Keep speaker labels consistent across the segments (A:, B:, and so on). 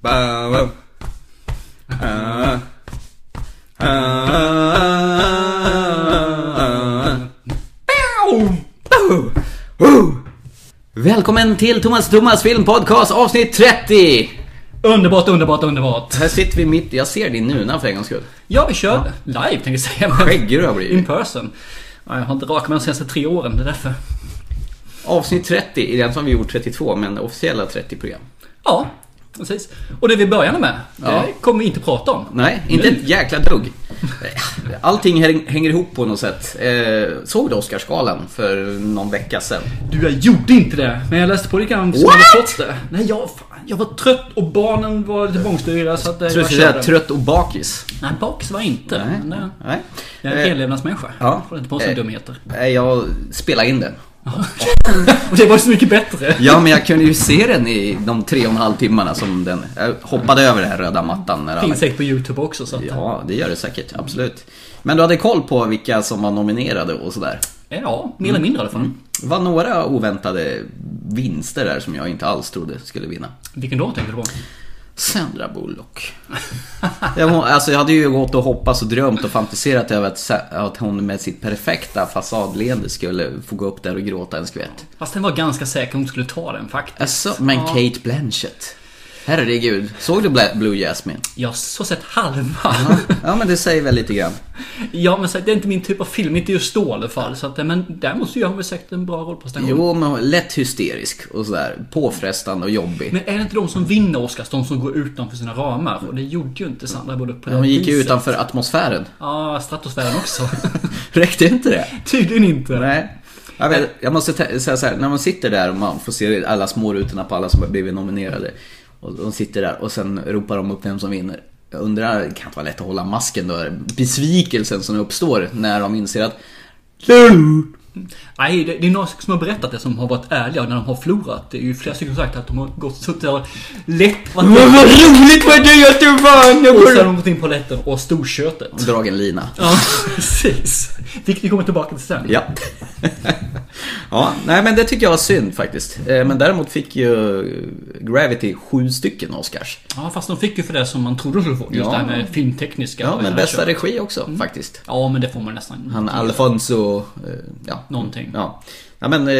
A: Ba-ba. Ah. Ah. Ah. Bow. Bow. Woo. Välkommen till Thomas Thomas filmpodcast avsnitt 30!
B: Underbart, underbart, underbart.
A: Här sitter vi mitt, jag ser din nuna för en gångs skull.
B: Ja, vi kör live tänkte jag säga. men-
A: Skäggröv blir
B: In
A: det.
B: person. Ja, jag har inte rakat mig de senaste tre åren, det är därför.
A: Avsnitt 30 är den som vi gjort 32 men officiella 30 program.
B: Ja, precis. Och det vi började med,
A: Ja.
B: det kommer vi inte prata om.
A: Nej, inte
B: Nu.
A: ett jäkla dugg. Eh, Allting häng- hänger ihop på något sätt. Eh, såg du Oscarsgalan för någon vecka sedan?
B: Du, jag gjorde inte det. Men jag läste på lite grann som
A: What?
B: hade fått det. Nej, jag, fan, jag var trött och barnen var lite bångstyriga så att eh,
A: Tror
B: jag
A: du säga
B: körde.
A: trött och bakis?
B: Nej, bakis var jag inte. Men, eh,
A: Nej.
B: Jag är en hellevnadsmänniska.
A: ja.
B: Får inte på sig
A: Eh.
B: dumheter.
A: Nej, jag spelade in den.
B: Och det var ju så mycket bättre.
A: Ja, men jag kunde ju se den i de tre och en halv timmarna som den... Jag hoppade över den här röda mattan. När alla...
B: Finns säkert på YouTube också så att...
A: Ja, det gör det säkert. Absolut. Men du hade koll på vilka som var nominerade och sådär.
B: Eh, Ja, mer eller mindre i alla fall.
A: Det var några oväntade vinster där som jag inte alls trodde skulle vinna.
B: Vilken dag tänker du på?
A: Sandra Bullock. Det var- alltså jag hade ju gått och hoppats och drömt och fantiserat över att, Sa- att hon med sitt perfekta fasadleende skulle få gå upp där och gråta en skvätt.
B: Fast den var ganska säker hon skulle ta den faktiskt.
A: Alltså, men Kate Blanchett. Herregud, såg du Bla- Blue Jasmine?
B: Jag har så sett halva.
A: Ja men det säger väl lite grann.
B: ja men så, det är inte min typ av film, inte just då i alla fall. Så att, men däremot så gör hon väl säkert en bra rollprestation.
A: Jo, men hon är lätt hysterisk och sådär. Påfrestande och jobbig.
B: Men är det inte de som vinner Oscars, de som går utanför sina ramar? Och det gjorde ju inte Sandra Bullock på det
A: Hon gick ju
B: viset.
A: utanför atmosfären.
B: Ja, stratosfären också.
A: Räckte inte det?
B: Tydligen inte.
A: Nej. Jag, vet, jag måste te- säga så här, när man sitter där och man får se alla smårutorna på alla som har blivit nominerade. Och de sitter där och sen ropar de upp vem som vinner. Jag undrar, det kan inte vara lätt att hålla masken då? Besvikelsen som uppstår när de inser att
B: Nej, det, det är några som har berättat det som har varit ärliga när de har förlorat. Det är ju flera stycken som sagt att de har gått och suttit där och lätt
A: Vad
B: varit Och
A: roligt vad du att du vann! Jag
B: sen har
A: borde-"
B: de gått in på toaletten och storkötet.
A: Dragen lina.
B: Ja, precis. Vilket vi kommer tillbaka till sen.
A: Ja. ja, nej men det tycker jag var synd faktiskt. Eh, Men däremot fick ju Gravity sju stycken Oscars.
B: Ja, fast de fick ju för det som man trodde de skulle få. Just
A: Ja.
B: det här med filmtekniska.
A: Ja, Mm.
B: och
A: men
B: det här
A: bästa
B: köret.
A: regi också faktiskt.
B: Ja, men det får man nästan.
A: Han Alfonso... eh, Ja.
B: Någonting.
A: Ja. ja men eh,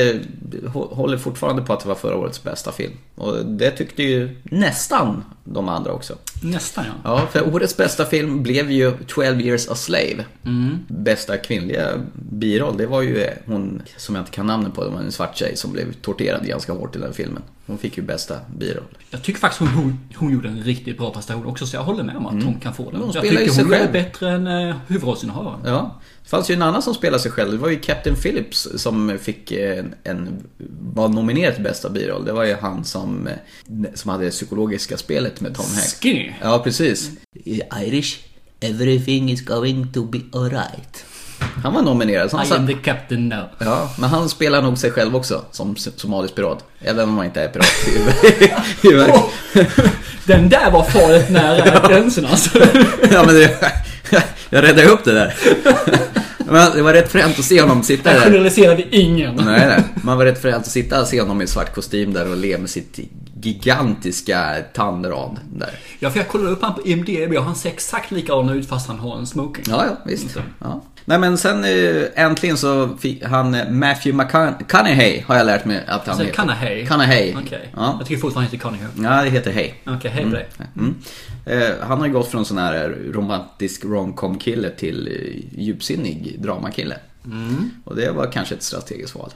A: hå- håller fortfarande på att det var förra årets bästa film. Och det tyckte ju nästan de andra också.
B: Nästan ja.
A: Ja, för årets bästa film blev ju 12 years a slave. Bästa kvinnliga biroll, det var ju eh, hon som jag inte kan namnet på, det var en svart tjej som blev torterad ganska hårt i den filmen. Hon fick ju bästa biroll.
B: Jag tycker faktiskt hon, hon, hon gjorde en riktigt bra prestation också, så jag håller med om att hon kan få den.
A: Mm. Hon
B: jag
A: spelar ju
B: tycker
A: sig
B: hon är
A: själv.
B: bättre än eh, huvudrollsinnehavaren.
A: Ja, det fanns ju en annan som spelade sig själv. Det var ju Captain Phillips som fick eh, en, en var nominerad till bästa biroll. Det var ju han som, eh, som hade det psykologiska spelet med Tom Hanks.
B: Skinny.
A: Ja, precis. I Irish, everything is going to be alright. Han var nominerad. Så han
B: I am
A: satt,
B: the captain now.
A: ja, men han spelar nog sig själv också som s- somalisk pirat. Även om han inte är pirat. i ver- i verk-
B: Åh! den där var farligt nära gränsen alltså.
A: Ja men det, jag räddade upp det där. Men det var rätt fränt att se honom sitta
B: Där
A: där.
B: generaliserade ingen.
A: Nej, nej. Man var rätt för att sitta och se honom i svart kostym där och le med sitt gigantiska tandrad där.
B: Ja, för jag kollade upp han på IMDB och han ser exakt likadan ut fast han har en smoking.
A: Ja, ja, visst.
B: Mm.
A: Ja. Nej, men sen eh, äntligen så fick han eh, Matthew McConaughey har jag lärt mig att han
B: Alltså,
A: heter.
B: Kanahay.
A: Kanahay.
B: Okej.
A: Ja.
B: Jag tycker fortfarande han heter Kanahay.
A: ja, det heter Hay.
B: Okej, hej på dig.
A: Mm. Eh, han har ju gått från sån här eh, romantisk romcom-kille till eh, djupsinnig dramakille.
B: Mm.
A: Och det var kanske ett strategiskt val.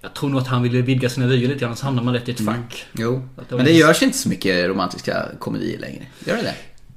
B: Jag tror nog att han ville vidga sina vyer lite grann, så hamnar man lätt i
A: Mm.
B: ett fack.
A: Jo,
B: Att det var
A: men det
B: just-
A: görs inte så mycket romantiska komedier längre. Gör det det?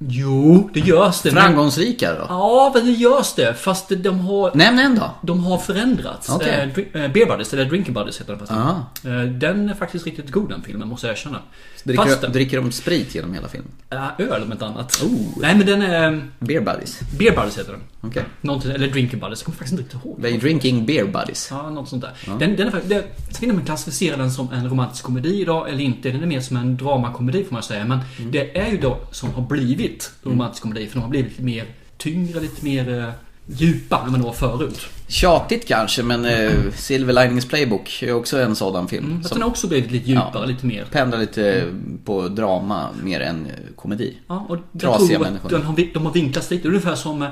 B: Jo, det görs det. men-
A: Framgångsrika då?
B: Ja, men det görs det. Fast det- de har,
A: Nämn en då.
B: de har förändrats.
A: Okej.
B: Eh, dri- eh, Beer Buddies, eller Drinking Buddies heter den faktiskt.
A: Aha.
B: Eh, Den är faktiskt riktigt god den filmen, måste jag erkänna. Fast
A: Dricker,
B: den,
A: dricker de sprit genom hela filmen?
B: äh, öl om inte annat. Nej, men den är... eh,
A: Beer buddies?
B: Beer Buddies heter den.
A: Okej.
B: Någonting, eller Drinking Buddies, jag kommer faktiskt inte riktigt ihåg.
A: They drinking beer buddies.
B: Ja, något sånt där. Den, den är, fakt- det, sen om man klassificerar den som en romantisk komedi idag eller inte. Den är mer som en dramakomedi får man säga. Men
A: Mm.
B: det är ju då som har blivit romantisk komedi. För de har blivit lite mer tyngre, lite mer eh, djupa än vad det var förut.
A: Tjatigt kanske men eh, Silver Linings Playbook är också en sådan film.
B: Mm. Att
A: som
B: den har också blivit lite djupare,
A: Ja.
B: lite mer.
A: pendlar lite eh, på drama mer än eh, komedi.
B: Ja, och jag
A: Trasiga människor.
B: tror att den har, de har vinklats lite. Ungefär som eh,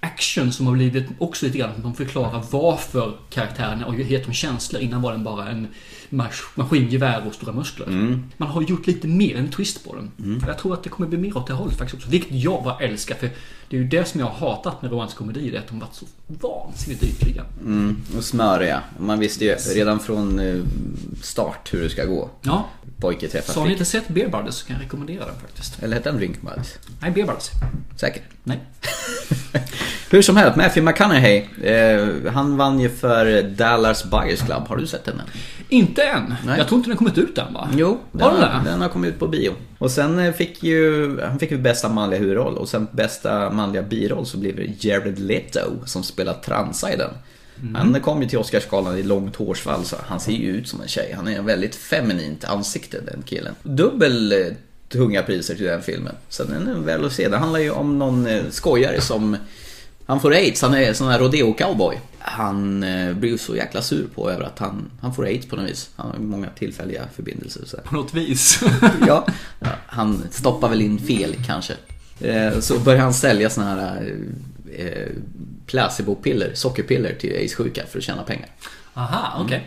B: action som har blivit också lite grann. De förklarar varför karaktärerna och heter de känslor. Innan var den bara en mas- maskingevär och stora muskler.
A: Mm.
B: Man har gjort lite mer, en twist på den. Och Jag tror att det kommer bli mer åt det hållet faktiskt också. Vilket jag bara älskar. För det är ju det som jag har hatat med romantisk komedi. Det är att de varit så vansinnigt ytliga.
A: Mm, och smöriga. Man visste ju redan från eh, start hur det ska gå.
B: Ja,
A: Pojke träffar
B: så har ni
A: flicka.
B: inte sett Bear Brothers så kan jag rekommendera den faktiskt.
A: Eller hette han Rinkmuds?
B: Nej, Bear Brothers.
A: Säkert.
B: Nej.
A: Hur som helst, Matthew McConaughey. Eh, han vann ju för Dallas Buyers Club. Har du sett den än?
B: Inte än.
A: Nej.
B: Jag tror inte den kommit ut än va?
A: Jo, den,
B: Har den
A: har,
B: det?
A: den har kommit ut på bio. Och sen eh, fick ju, han fick ju bästa manliga huvudroll och sen bästa manliga biroll så blev det Jared Leto som spelar transa i den. Han kom ju till Oscarsgalan i långt hårsvall så han ser ju ut som en tjej. Han är en väldigt feminint ansikte den killen. Dubbel eh, tunga priser till den filmen. Så den är väl att se. Det handlar ju om någon eh, skojare som han får aids, han är sån här rodeo-cowboy. Han eh, blir ju så jäkla sur på över att han, han får aids på något vis. Han har ju många tillfälliga förbindelser. och Så här
B: På något vis.
A: ja, han stoppar väl in fel kanske. Eh, Så börjar han sälja såna här eh, placebo-piller, sockerpiller till aidssjuka för att tjäna pengar. Mm.
B: Aha, okej.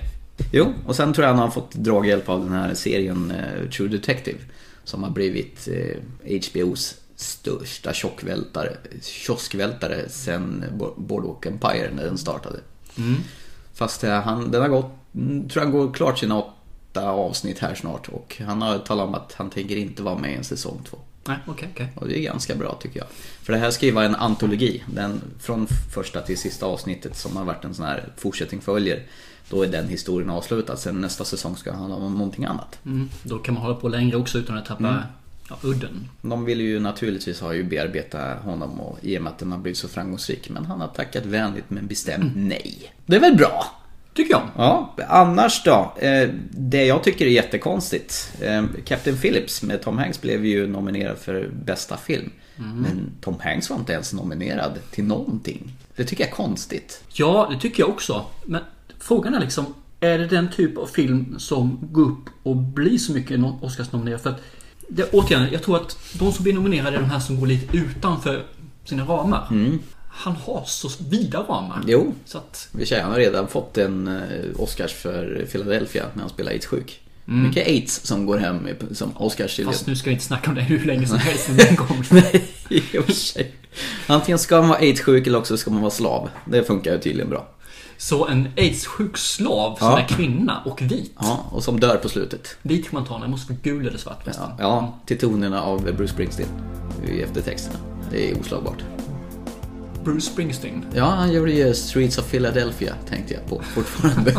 A: Jo, och sen tror jag han har fått draghjälp av den här serien eh, True Detective. Som har blivit eh, HBOs största tjockvältare, kioskvältare sen Bo- Boardwalk Empire när den startade. Mm. Fast eh, han, den har gått, mm, tror jag går klart sina åtta avsnitt här snart och han har talat om att han tänker inte vara med i en säsong två.
B: Nej, okej, okej.
A: Och det är ganska bra tycker jag. För det här ska ju vara en antologi. Den, från första till sista avsnittet som har varit en sån här fortsättning följer. Då är den historien avslutad. Sen nästa säsong ska handla om någonting annat.
B: Mm. Då kan man hålla på längre också utan att
A: Mm.
B: tappa ja, udden.
A: De vill ju naturligtvis ha ju bearbeta honom och, i och med att den har blivit så framgångsrik. Men han har tackat vänligt men bestämt nej. Det är väl bra?
B: Tycker jag.
A: Ja, annars då? Eh, det jag tycker är jättekonstigt. Eh, Captain Phillips med Tom Hanks blev ju nominerad för bästa film. Men Tom Hanks var inte ens nominerad till någonting. Det tycker jag är konstigt.
B: Ja, det tycker jag också. Men frågan är liksom, är det den typ av film som går upp och blir så mycket no- Oscarsnominerad? För att, det, återigen, jag tror att de som blir nominerade är de här som går lite utanför sina ramar. Han har så vida ramar.
A: Mm. Jo.
B: Så att,
A: Vi säger, han har redan fått en eh, Oscars för Philadelphia när han spelar AIDS-sjuk. Mycket AIDS som går hem i- som Oscars till
B: fast nu ska vi inte snacka om det hur länge som helst. när Den kommer.
A: I och för sig. Antingen ska man vara AIDS-sjuk eller också ska man vara slav. Det funkar ju tydligen bra.
B: Så en aidssjuk slav som
A: Ja.
B: är kvinna och vit.
A: Ja, och som dör på slutet.
B: Vit kan man ta, den måste vara gul eller svart. förresten.
A: Ja, ja, till tonerna av Bruce Springsteen i eftertexterna. Det är oslagbart.
B: Bruce Springsteen.
A: Ja, han gjorde ju Streets of Philadelphia tänkte jag på fortfarande.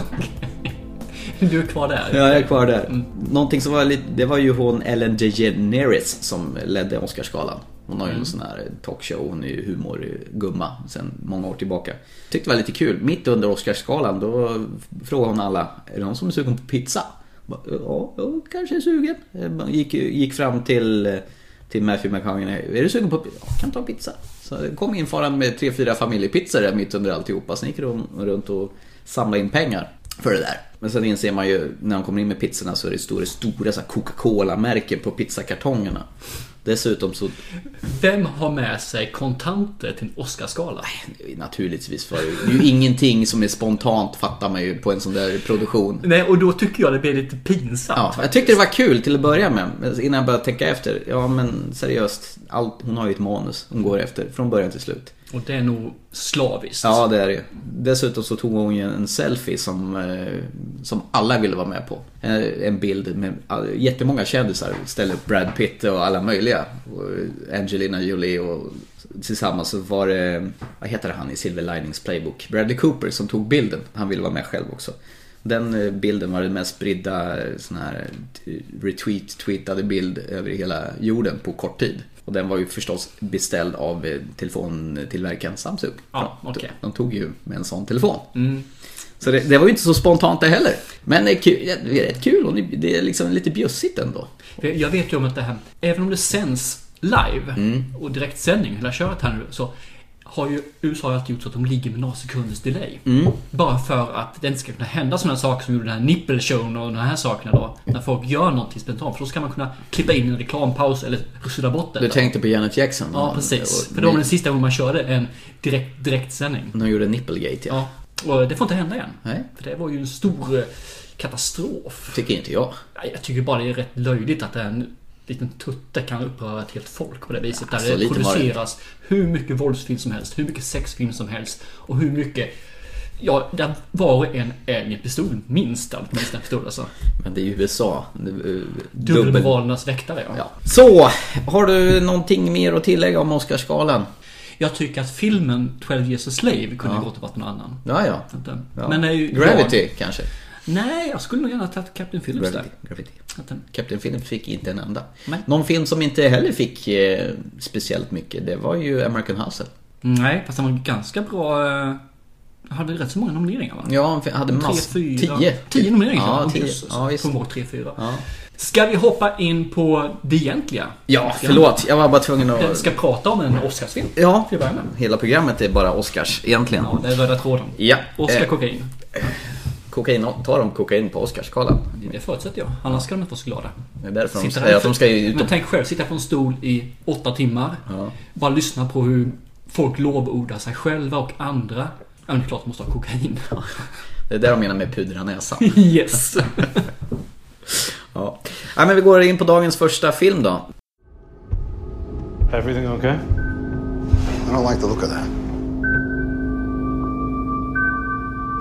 B: Du är kvar där.
A: ja, jag är kvar där. Någonting som var lite, det var ju hon Ellen DeGeneres som ledde Oscarsgalan. Hon har ju en sån här talkshow, hon är ju humorgumma sen många år tillbaka. Tyckte det var lite kul, mitt under Oscarsgalan då frågade hon alla, är det någon som är sugen på pizza? Bara, Ja, jag kanske är sugen. Man Gick, gick fram till, till Matthew McConaughey, är du sugen på pizza? Ja, jag kan ta pizza. Så det kom in faran med tre, fyra familjepizzor där mitt under alltihopa. Sen gick de runt och samlade in pengar för det där. Men sen inser man ju när de kommer in med pizzorna så är det stora, stora så här Coca-Cola-märken på pizzakartongerna. Dessutom så
B: Vem har med sig kontanter till en Oscarsgala?
A: naturligtvis för det är ju ingenting som är spontant fattar man ju på en sån där produktion.
B: Nej, och då tycker jag det blir lite pinsamt.
A: Ja, jag tyckte det var kul till att börja med. men Innan jag började tänka efter. Ja men seriöst, allt, hon har ju ett manus hon går efter från början till slut.
B: Och det är nog slaviskt.
A: Ja det är det ju. Dessutom så tog hon ju en selfie som, eh, som alla ville vara med på. Eh, En bild med all- jättemånga kändisar. Ställde upp Brad Pitt och alla möjliga. Och Angelina Jolie och tillsammans så var det, vad heter han i Silver Linings Playbook? Bradley Cooper som tog bilden. Han ville vara med själv också. Den eh, bilden var den mest spridda eh, sån här t- retweet, tweetade bild över hela jorden på kort tid. Och den var ju förstås beställd av eh, telefontillverkaren Samsung.
B: Ja, okej.
A: De tog ju med en sån telefon.
B: Mm.
A: Så det, det var ju inte så spontant det heller. Men det är, kul, det är rätt kul och ni- det är liksom lite bjussigt ändå.
B: För Jag vet
A: Mm.
B: ju om att det här, även om det sänds live och direktsändning, hela köret här nu, så har ju USA alltid gjort så att de ligger med några sekunders delay.
A: Mm.
B: Bara för att det inte ska kunna hända sådana saker som gjorde den här nippelshowen och de här sakerna då. När folk gör någonting spontant. För då ska man kunna klippa in en reklampaus eller sudda bort
A: Du
B: det.
A: tänkte på Janet Jackson?
B: Ja,
A: Och-
B: precis.
A: och-
B: För det var den sista gången man körde en direkt, direktsändning.
A: De gjorde Nipplegate, ja.
B: Ja. Och det får inte hända igen.
A: Nej.
B: För det var ju en stor eh, katastrof.
A: Tycker inte jag.
B: Nej, Jag tycker bara det är rätt löjligt att en liten tutte kan uppröra ett helt folk på det viset.
A: Ja,
B: Där
A: så
B: det
A: lite var det.
B: produceras hur mycket våldsfilm som helst, hur mycket sexfilm som helst och hur mycket... Ja, där var och en äger en pistol. Minst allt, minst en pistol alltså.
A: Men det är ju USA. Det är, eh, Dubbel...
B: Dubbelmoralernas väktare, ja.
A: Ja. Så, har du någonting mer att tillägga om Oscarsgalan?
B: Jag tycker att filmen 12 Years a Slave kunde gått och varit någon annan.
A: Ja, ja.
B: Inte.
A: ja.
B: Men det är ju
A: Gravity kanske?
B: Nej, jag skulle nog gärna ha tagit Captain Phillips
A: Gravity.
B: där.
A: Gravity.
B: Att den-
A: Captain Phillips fick inte en enda.
B: Nej.
A: Någon film som inte heller fick eh, speciellt mycket, det var ju American Hustle.
B: Nej, fast den var ganska bra. eh, Hade rätt så många nomineringar va?
A: Ja, han f- hade mass...
B: 3-4.
A: Tio.
B: 10 nomineringar.
A: Ja,
B: va?
A: tio.
B: Just,
A: Ja, visst.
B: Kom ihåg 3-4.
A: Ja.
B: Ska vi hoppa in på det egentliga?
A: ja, förlåt. Jag var bara tvungen
B: Vi
A: att...
B: ska prata om en Oscarsfilm.
A: Ja,
B: Till att börja med.
A: hela programmet är bara Oscars egentligen.
B: Ja, det är röda tråden.
A: Ja.
B: Oscar
A: Eh.
B: kokain.
A: Kokain, tar de kokain på Oscarsgalan?
B: Det förutsätter jag. Annars ska de inte vara så glada.
A: Det är därför de
B: Sitter
A: säger
B: där-
A: att de ska ju ut
B: Men
A: och...
B: tänk själv, sitta på en stol i åtta timmar.
A: Ja.
B: Bara lyssna på hur folk lovordar sig själva och andra. Ja, men det är klart de måste ha kokain.
A: Det är det de menar med pudra näsan.
B: yes!
A: Ja. ja, men vi går in på dagens första film då.
C: Everything okay?
D: I don't like the look of that.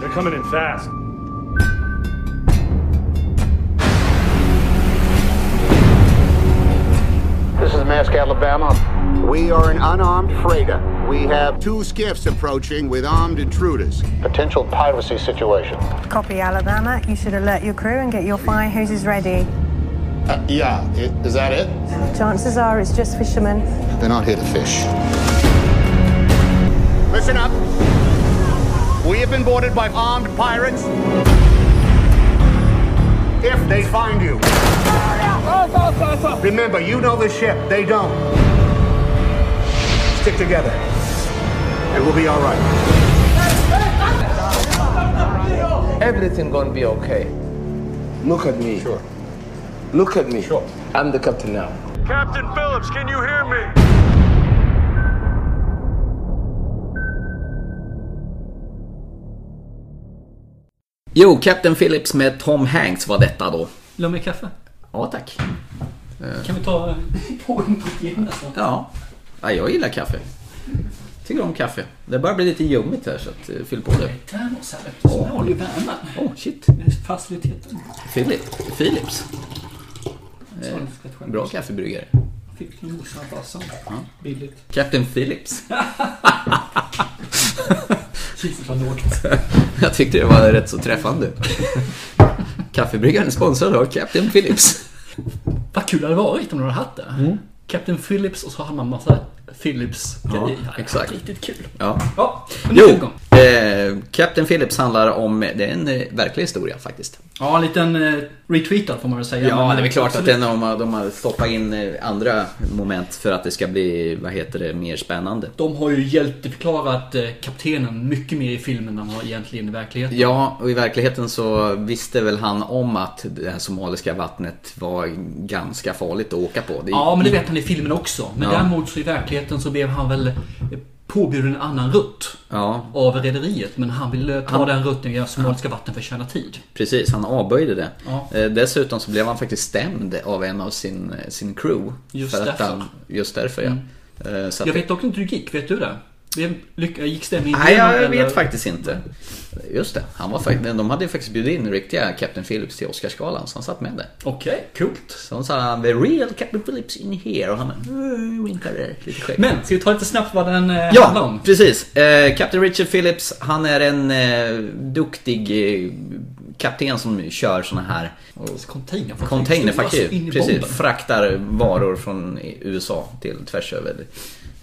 C: They're coming in fast.
E: This is Mask, Alabama.
D: We are an unarmed freighter. We have two skiffs approaching with armed intruders.
E: Potential piracy situation.
F: Copy, Alabama. You should alert your crew and get your fire hoses ready.
D: yeah, is that it?
F: Chances are it's just fishermen.
D: They're not here to fish. Listen up. We have been boarded by armed pirates. If they find you, remember you know the ship. They don't. Stick together, and we'll be all right.
G: Everything gonna be okay. Look at me. Sure. Look at me. Sure. I'm the captain now.
C: Captain Phillips, can you hear me?
A: Jo, Captain Phillips med Tom Hanks var detta då.
B: Vill du ha mer kaffe?
A: Ja, tack.
B: Kan vi ta eh, på en på igen nästan?
A: Ja. ja, jag gillar kaffe. Tycker om kaffe. Det börjar bli lite ljummet här så att, eh, fyll på det.
B: Termos här vet du, så har du ju värmen.
A: Åh, oh, shit.
B: Det är Faciliteten.
A: Philip. Philips.
B: Så det ska skämmas.
A: Bra kaffebryggare.
B: Fick min morsa bara sånt. Billigt.
A: Captain Phillips.
B: Jesus vad lågt.
A: Jag tyckte det var rätt så träffande. Kaffebryggaren är sponsrad av Captain Phillips.
B: Vad kul det hade varit om du hade haft det.
A: Mm.
B: Captain Phillips och så hade man massa Philips grejer. Det hade
A: exakt.
B: varit Riktigt kul.
A: Ja.
B: Ja, men nu
A: Jo,
B: igång.
A: eh, Captain Phillips handlar om, det är en eh, verklig historia faktiskt. Mm.
B: Ja, en liten eh, retweetad får man väl säga.
A: Ja,
B: Men, eh,
A: det är väl klart att
B: absolut.
A: den, de, har, de har stoppat in eh, andra moment för att det ska bli, vad heter det, mer spännande.
B: De har ju hjälteförklarat eh, kaptenen mycket mer i filmen än vad egentligen i verkligheten.
A: Ja, och i verkligheten så visste väl han om att det här somaliska vattnet var ganska farligt att åka på. Det,
B: Ja, men det vet han i filmen också. Men
A: Ja.
B: däremot så i verkligheten så blev han väl eh, påbjuden en annan rutt.
A: Ja,
B: av rederiet men han ville ta den rutten via somaliska vatten för att tjäna tid.
A: precis. Han avböjde det.
B: Ja.
A: Eh, Dessutom så blev han faktiskt stämd av en av sin, eh, sin crew.
B: Just
A: att
B: därför. Mm.
A: Han, just därför, ja. Eh, Så att
B: Jag vet dock inte hur det gick, vet du det? Det lyck- Gick stämningen
A: Nej,
B: igenom,
A: jag
B: eller?
A: vet faktiskt inte. Just det, han var faktiskt, de hade ju faktiskt bjudit in riktiga Captain Phillips till Oscarsgalan, så han satt med där.
B: Okej, coolt.
A: Så de sa han “The real Captain Phillips in here” och han bara, vinkade lite skägg.
B: Men, ska vi ta lite snabbt vad den eh, handlar
A: Ja,
B: om?
A: precis. Eh, Captain Richard Phillips, han är en eh, duktig eh, kapten som kör såna här
B: Containerfartyg. Stora så Alltså in
A: containerfartyg.
B: i
A: Precis,
B: bomben.
A: fraktar varor från USA till tvärs över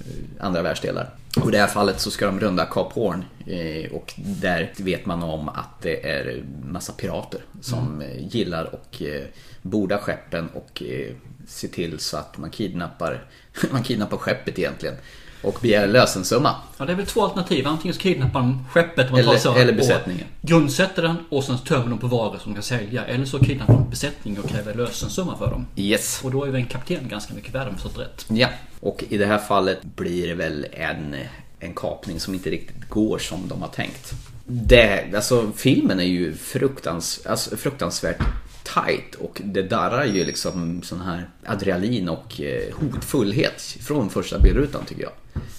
A: eh, andra världsdelar. Och i det här fallet så ska de runda Kap Horn eh, och där vet man om att det
B: Mm.
A: är massa pirater som eh, gillar och eh, borda skeppen och eh, se till så att man kidnappar, man kidnappar skeppet egentligen. Och begär lösensumma.
B: Ja, det är väl två alternativ. Antingen så kidnappar de skeppet om man
A: Eller-
B: tar sig an
A: eller
B: och
A: besättningen.
B: Grundsätter den och sen tömmer de på varor som de kan sälja. Eller så kidnappar de besättningen och kräver lösensumma för dem.
A: Yes.
B: Och då är väl en kapten ganska mycket värd om jag förstått rätt.
A: Ja. Och i det här fallet blir det väl en, en kapning som inte riktigt går som de har tänkt. Det, alltså filmen är ju fruktans, alltså, fruktansvärt tight och det darrar ju liksom sån här adrenalin och eh, hotfullhet från första bildrutan tycker jag.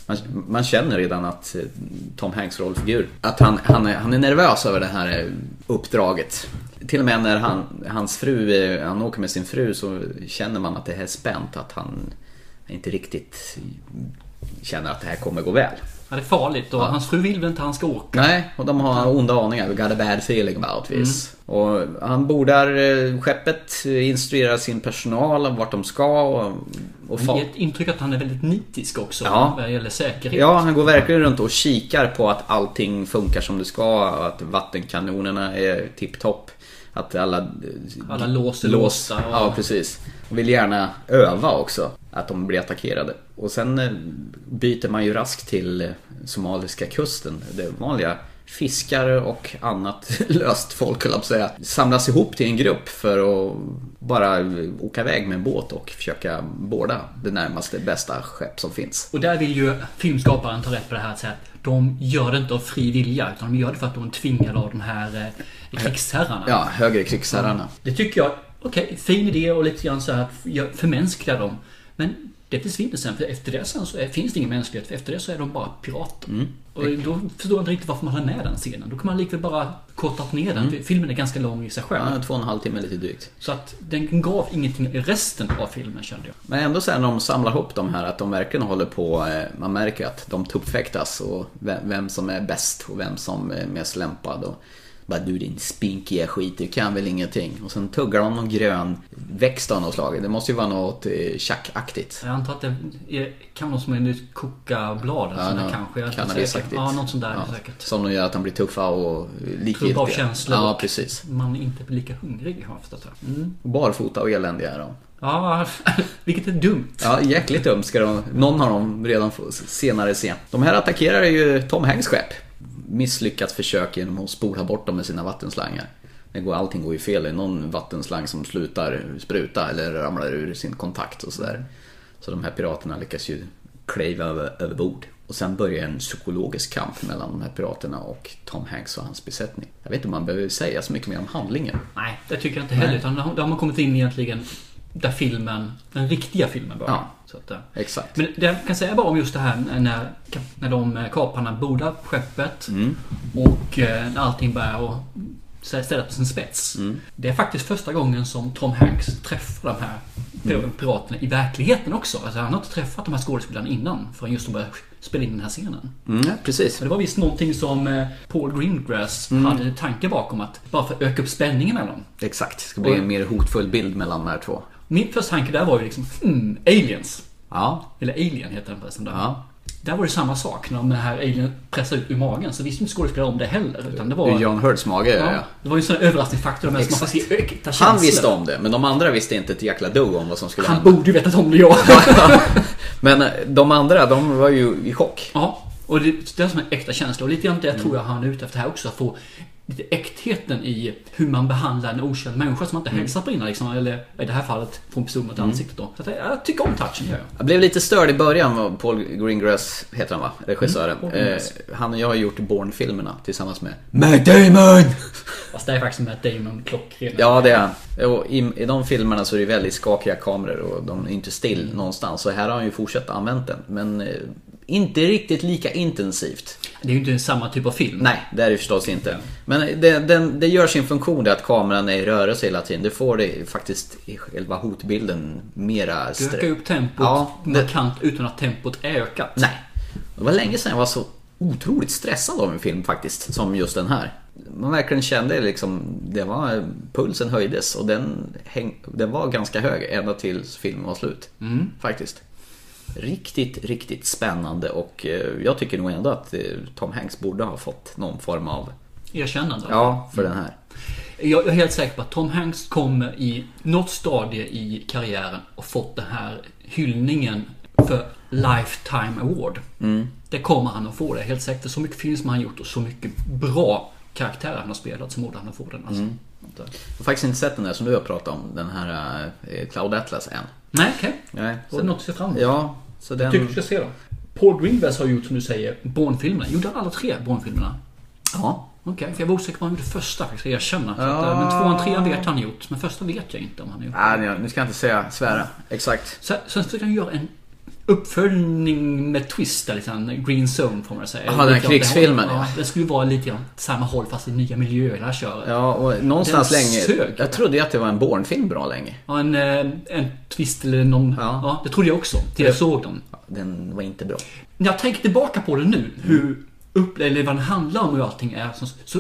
A: Man, man känner redan att eh, Tom Hanks rollfigur, att han, han, är, han är nervös över det här eh, uppdraget. Till och med när han, hans fru, eh, han åker med sin fru så känner man att det här är spänt, att han inte riktigt känner att det här kommer gå väl.
B: Ja, det är farligt och hans fru vill väl inte att han ska åka.
A: Nej, och de har onda aningar. We got a bad feeling about this. Och han bordar eh, skeppet, instruerar sin personal om vart de ska och, och
B: Det
A: fa-
B: ger ett intryck att han är väldigt nitisk också
A: Ja.
B: vad gäller säkerhet.
A: Ja, han går verkligen runt och kikar på att allting funkar som det ska, att vattenkanonerna är tipptopp. Att alla...
B: Alla lås är
A: lås.
B: låsta och-
A: Ja, precis. Och vill gärna öva också, att de blir attackerade. Och sen eh, byter man ju raskt till eh, somaliska kusten. Det vanliga fiskare och annat löst folk, höll jag på att säga, samlas ihop till en grupp för att bara eh, åka iväg med en båt och försöka båda det närmaste bästa skepp som finns.
B: Och där vill ju filmskaparen ta rätt på det här att säga att de gör det inte av fri vilja utan de gör det för att de är tvingade av de här eh, krigsherrarna.
A: Ja, högre krigsherrarna.
B: Det tycker jag, okej, fin idé och lite grann så här att jag förmänskliga dem. Men det försvinner sen, för efter det sen så är, finns det ingen mänsklighet. För efter det så är de bara pirater.
A: Mm.
B: Och då förstår jag inte riktigt varför man har med den scenen. Då kan man likväl bara kortat ner den. för Filmen är ganska lång i sig själv.
A: Mm. Ja, två och en halv timme lite drygt.
B: Så att den gav ingenting i resten av filmen kände jag.
A: Men ändå sen när de samlar ihop de här, att de verkligen håller på, eh, man märker att de tuppfäktas och vem, vem som är bäst och vem som är mest lämpad. Och bara du din spinkiga skit, du kan väl ingenting. Och sen tuggar de någon grön växt av något slag. Det måste ju vara något eh, tjackaktigt.
B: Jag antar att det är, kan vara som en kokablad eller sån där
A: nå-
B: kanske. Jag är inte säker.
A: kanadensaktigt.
B: Ja, något sånt där
A: Ja,
B: säkert.
A: Som de gör att de blir tuffa och likgiltiga.
B: Klubba av känslor
A: Ja,
B: och
A: precis.
B: man är inte blir lika hungrig har jag förstått det. Mm.
A: Barfota och eländiga är de.
B: Ja, vilket är dumt.
A: Ja, jäkligt dum ska de, någon av dem redan få, senare se. De här attackerar ju Tom Hanks skepp. Misslyckat försök genom att spola bort dem med sina vattenslangar. Det går, allting går ju fel, det är någon vattenslang som slutar spruta eller ramlar ur sin kontakt och sådär. Så de här piraterna lyckas ju kliva över, över bord. Och sen börjar en psykologisk kamp mellan de här piraterna och Tom Hanks och hans besättning. Jag vet inte om man behöver säga så mycket mer om handlingen.
B: Nej, det tycker jag inte heller. Utan då har man kommit in egentligen där filmen, den riktiga filmen börjar.
A: Ja.
B: Så att, eh.
A: Exakt.
B: Men det jag kan säga bara om just det här när, när de eh, kaparna bordar skeppet
A: Mm.
B: och eh, när allting börjar och ställas på sin spets.
A: Mm.
B: Det är faktiskt första gången som Tom Hanks träffar de här pir-
A: Mm.
B: piraterna i verkligheten också. Alltså, han har inte träffat de här skådespelarna innan förrän just de börjar spela in den här scenen.
A: Mm, precis.
B: Men det var visst någonting som eh, Paul Greengrass
A: Mm.
B: hade tanke bakom att bara för att öka upp spänningen mellan dem.
A: Exakt. Det ska bli en mer hotfull bild mellan de här två.
B: Min första tanke där var ju liksom, mm, aliens.
A: Ja,
B: Eller alien heter den förresten där.
A: Ja.
B: Där var det samma sak när de här alien pressade ut ur magen. Så visste inte skådespelare om det heller. Utan det var...
A: Ur John Hurds mage, ja.
B: ja,
A: ja.
B: Det var ju en sån överraskningsfaktor. Men som man får
A: Exakt.
B: se äkta
A: Han
B: känslor.
A: visste om det, men de andra visste inte ett jäkla dugg om vad som skulle
B: Han
A: hända.
B: borde ju vetat om det, ja.
A: Men eh, de andra, de var ju i chock.
B: ja. Och det, det är som en äkta känsla. Och lite grann det tror jag han är ute efter här också. Att få lite äktheten i hur man behandlar en okänd människa som man inte
A: Mm.
B: hälsat på innan. Liksom, eller i det här fallet får en person mot ansiktet då. Så att jag, jag tycker om touchen. gör jag.
A: Jag blev lite störd i början av Paul Greengrass, heter han va? Regissören.
B: Mm, Paul Greengrass.
A: eh, han och jag har gjort Bourne-filmerna tillsammans med Matt Damon!
B: Fast det är faktiskt Matt Damon klockren.
A: Ja, det är han. Och i, I de filmerna så är det väldigt skakiga kameror och de är inte still någonstans. Så här har han ju fortsatt använt den, men eh, inte riktigt lika intensivt.
B: Det är ju inte samma typ av film.
A: Nej, det är det förstås inte. Men det, den, det gör sin funktion det att kameran är i rörelse hela tiden. Det får det faktiskt i själva hotbilden mera...
B: Du
A: strö-
B: ökar upp tempot
A: Ja, det,
B: markant utan att tempot är ökat.
A: nej. Det var länge sedan jag var så otroligt stressad av en film faktiskt, som just den här. Man verkligen kände liksom, det var, pulsen höjdes och den, häng, den var ganska hög ända tills filmen var slut.
B: Mm.
A: Faktiskt. Riktigt, riktigt spännande och eh, jag tycker nog ändå att eh, Tom Hanks borde ha fått någon form av
B: Erkännande.
A: Ja, för den här.
B: Jag är helt säker på att Tom Hanks kommer i något stadie i karriären och fått den här hyllningen för Lifetime Award.
A: Mm.
B: Det kommer han att få, det är jag helt säkert. Så mycket film som han gjort och så mycket bra karaktärer han har spelat så borde han att få den. Alltså.
A: Mm. Jag har faktiskt inte sett den där som du har pratat om, den här eh, Cloud Atlas än.
B: Nej, okej.
A: Nej,
B: Då är det något att se fram emot.
A: Ja, så den...
B: Tycker du ska se dem? Paul Greengrass har gjort, som du säger, Bourne-filmerna. Gjorde han alla tre Bourne-filmerna?
A: Ja.
B: Okej, för jag var osäker på om han gjorde första faktiskt, jag erkänner. Så att, eh, Men tvåan, trean vet han gjort. Men första vet jag inte om han har gjort.
A: Nej, nej, nu ska jag inte säga svära. Exakt.
B: Sen, sen försökte han göra en uppföljning med twist där, lite grann Green Zone får man säga.
A: Jaha, den här
B: Lite åt det
A: krigsfilmen,
B: hållet.
A: ja.
B: Ja, det skulle vara lite grann åt samma håll fast i nya miljöer där köret. Ja.
A: Ja, och någonstans
B: Den
A: länge...
B: sög.
A: Jag trodde ju att det var en Bourne-film bra länge.
B: en, eh, en twist eller någon...
A: Ja.
B: Ja. det trodde jag också. Till jag såg den.
A: Den var inte bra.
B: När jag tänker tillbaka på den nu, hur upp, eller vad den handlar om och hur allting är, så, så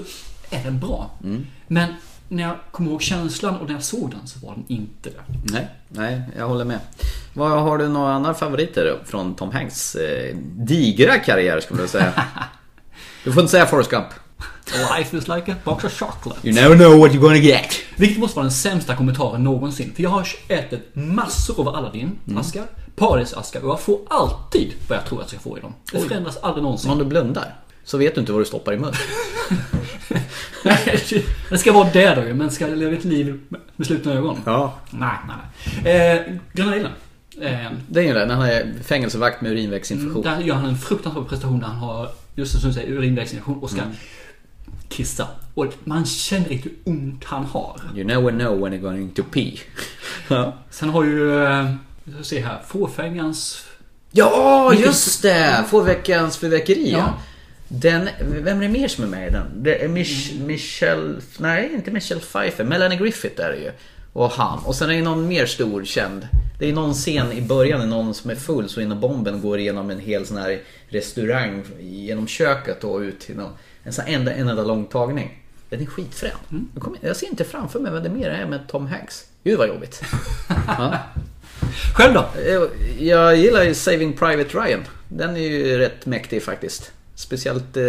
B: är den bra.
A: Mm.
B: Men när jag kommer ihåg känslan och när jag såg den så var den inte det.
A: Nej, nej, jag håller med. Vad, har du några andra favoriter från Tom Hanks eh, digra karriär skulle jag säga? du får inte säga Forrest Gump.
B: Life is like a box of chocolate.
A: You never know what you're gonna get.
B: Vilket måste vara den sämsta kommentaren någonsin. För jag har ätit massor av Aladdin-askar, Paris-askar och jag får alltid vad jag tror att jag ska få i dem. Det förändras aldrig någonsin.
A: Om du blundar så vet du inte vad du stoppar i munnen.
B: det ska vara det då ju, men ska jag leva ett liv med- med slutna ögon?
A: Ja.
B: Nej, nej, nej. Eh, Gröna Illen. Eh,
A: Det är ju det, när han är fängelsevakt med urinvägsinfektion.
B: Mm, där gör han en fruktansvärd prestation när han har, just som du säger, urinvägsinfektion och ska kissa. Och man känner inte hur ont han har.
A: You never know when you're going to pee. ja.
B: Sen har ju, eh, vi ska se här, Fåfängans
A: ja, just det! Få veckans fyrverkeri ja.
B: Ja.
A: Den, vem är det mer som är med i den? Det är Mich- Michelle, nej inte Michelle Pfeiffer, Melanie Griffith är det ju. Och han. Och sen är det någon mer stor känd. Det är någon scen i början när någon som är full så innan bomben går igenom en hel sån här restaurang genom köket och ut till någon, en sån här enda, en enda lång tagning. Den är skitfrän. Jag, kommer, jag ser inte framför mig vad det mer är med Tom Hanks. Gud vad jobbigt.
B: Själv då?
A: Jag- Eh, Jag gillar ju Saving Private Ryan. Den är ju rätt mäktig faktiskt. Speciellt eh,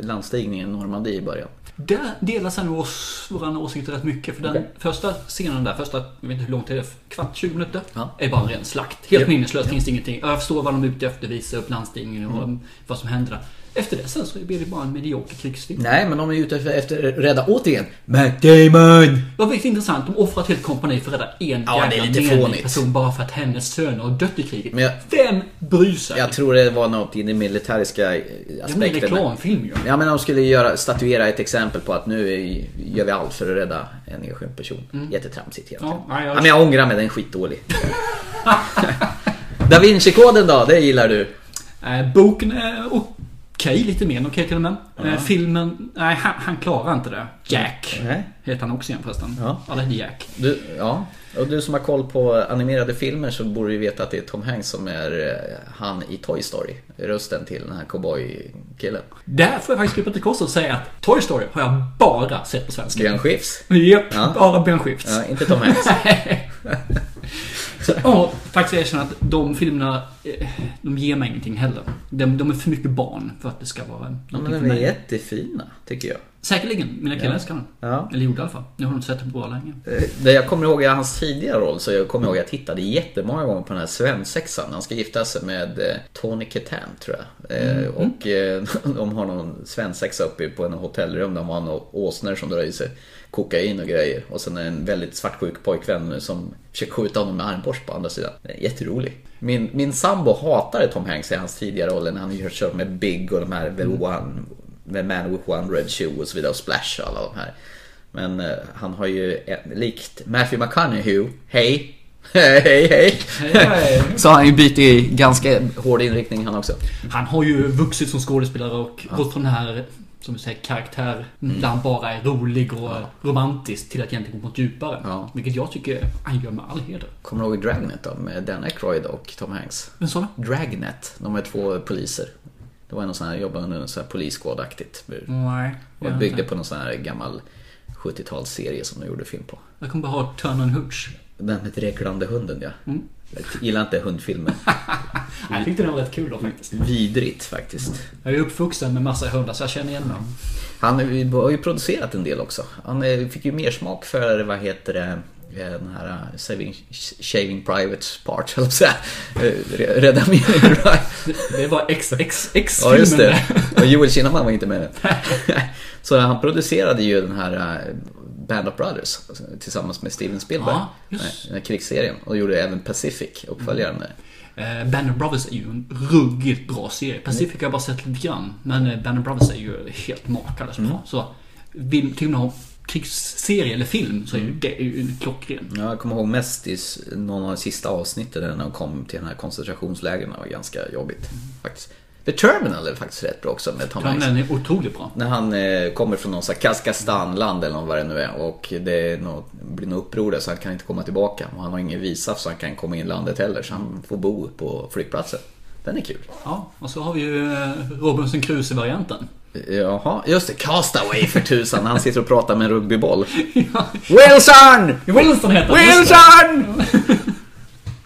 A: landstigningen i Normandie i början.
B: Där delas ändå oss- våran åsikt rätt mycket. För den
A: Okej.
B: första scenen där, första, jag vet inte hur långt det är, kvart, 20 minuter,
A: Ja.
B: är bara en ren slakt. Helt
A: Japp.
B: meningslöst, finns det ingenting. Jag förstår vad de är ute efter, visa upp landstigningen och
A: Mm.
B: vad som händer där. Efter det sen så blir det bara en medioker krigsfilm.
A: Nej, men de är ute efter- efter rädda återigen Matt Damon!
B: Det var väldigt intressant. De offrar ett helt kompani för att rädda en
A: Ja, det är lite
B: menig
A: fånigt.
B: person bara för att hennes söner har dött i kriget.
A: Men jag-
B: Vem bryr sig?
A: Jag tror det var något i den militäriska eh,
B: det är en
A: aspekten.
B: reklamfilm ju.
A: Ja men de skulle göra, statuera ett exempel på att nu är- gör vi allt för att rädda en enskild person. Jättetramsigt egentligen.
B: Ja, nej, jag-
A: Mm. Ja, men jag ångrar mig, den är skitdålig. da Vinci-koden då, det gillar du?
B: Eh, boken är okej, lite mer än okej till och med. Eh, filmen, nej han, han klarar inte det. Jack
A: Nej.
B: heter han också igen förresten.
A: Ja.
B: Alla heter Jack.
A: Du, ja. Och du som har koll på animerade filmer så borde ju veta att det är Tom Hanks som är eh, han i Toy Story. Rösten till den här cowboy-killen.
B: Där får jag faktiskt krypa till korset och säga att Toy Story har jag bara sett på svenska.
A: Björn Skifs.
B: Japp,
A: Ja.
B: bara Ben Skifs.
A: Ja, inte Tom Hanks.
B: Så ja, faktiskt erkänna att de filmerna, eh, de ger mig ingenting heller. De, de är för mycket barn för att det ska vara
A: Ja,
B: någonting
A: men
B: för
A: de är
B: mig.
A: jättefina, tycker jag.
B: Säkerligen, mina killar älskar den.
A: Ja.
B: Eller gjorde i alla fall. Nu har de inte sett den på bra länge.
A: Eh, Det jag kommer ihåg är hans tidiga roll, så jag kommer ihåg att jag tittade jättemånga gånger på den här svensexan. Han ska gifta sig med eh, Tony Ketan, tror jag. Eh, Och eh, de har någon svensexa uppe på en hotellrum. De har några åsnor som drar i sig kokain och grejer. Och sen en väldigt svartsjuk pojkvän som försöker skjuta honom med armborst på andra sidan. Det är Jätterolig. Min, min sambo hatade Tom Hanks i hans tidiga roller när han kört med Big och de här The One, The Man with One Red Shoe och så vidare och Splash och alla de här. Men eh, han har ju, en, likt Matthew McConaughey, hej, hej, hej,
B: hej.
A: så har han ju bytt i ganska hård inriktning han också.
B: Han har ju vuxit som skådespelare och gått från den här, som du säger, karaktär
A: Mm.
B: där han bara är rolig och romantisk till att egentligen gå mot djupare.
A: Ja.
B: Vilket jag tycker han gör med all heder.
A: Kommer du ihåg Dragnet då, med Dan Aykroyd och Tom Hanks?
B: Men sådana?
A: Dragnet, de är två poliser. Det var någon sån här, jobbade under en sån här poliskådaktigt bur.
B: Nej.
A: Och byggde på någon sån här gammal 70-talsserie som de gjorde film på.
B: Jag kommer bara ha Turn and Hooch.
A: Den med dreglande hunden ja. Jag gillar inte hundfilmer.
B: Jag tyckte den var rätt kul då faktiskt.
A: Vidrigt faktiskt.
B: Jag är uppvuxen med massa hundar så jag känner igen mig.
A: Han har ju producerat en del också. Han eh, fick ju mer smak för, vad heter det, eh, den här eh, Saving, Shaving Private Part, höll jag på att säga. Eh, Re- Rädda mig.
B: Det var XXX
A: Ja, just
B: filmen
A: det. Och Joel Kinnaman var inte med. Så han producerade ju den här eh, Band of Brothers alltså, tillsammans med Steven Spielberg.
B: Ja, just.
A: Den här krigsserien. Och gjorde även Pacific, uppföljaren där.
B: Eh, Band of Brothers är ju en ruggigt bra serie.
A: Mm.
B: Pacific har jag bara sett lite grann. Men eh, Band of Brothers är ju helt makalöst bra.
A: Mm.
B: Så vill, tycker man om krigsserie eller film så är ju det är ju en klockren.
A: Mm. Ja, Jag kommer ihåg mest i s- någon av de sista avsnitten där när de kom till den här koncentrationslägren. Det var ganska jobbigt faktiskt. The Terminal är faktiskt rätt bra också med Tom
B: Ja, men
A: Hanks.
B: Den är otroligt bra.
A: När han eh, kommer från någon sån här Kazakstan-land eller vad det nu är och det är något, blir något uppror där så han kan inte komma tillbaka. Och han har ingen visa så han kan komma in i landet heller så han får bo på flygplatsen. Den är kul.
B: Ja, och så har vi ju eh, Robinson Crusoe-varianten.
A: Jaha, just det. Castaway för tusan. Han sitter och pratar med en rugbyboll.
B: Ja,
A: Wilson!
B: Wilson heter han, just det.
A: Wilson!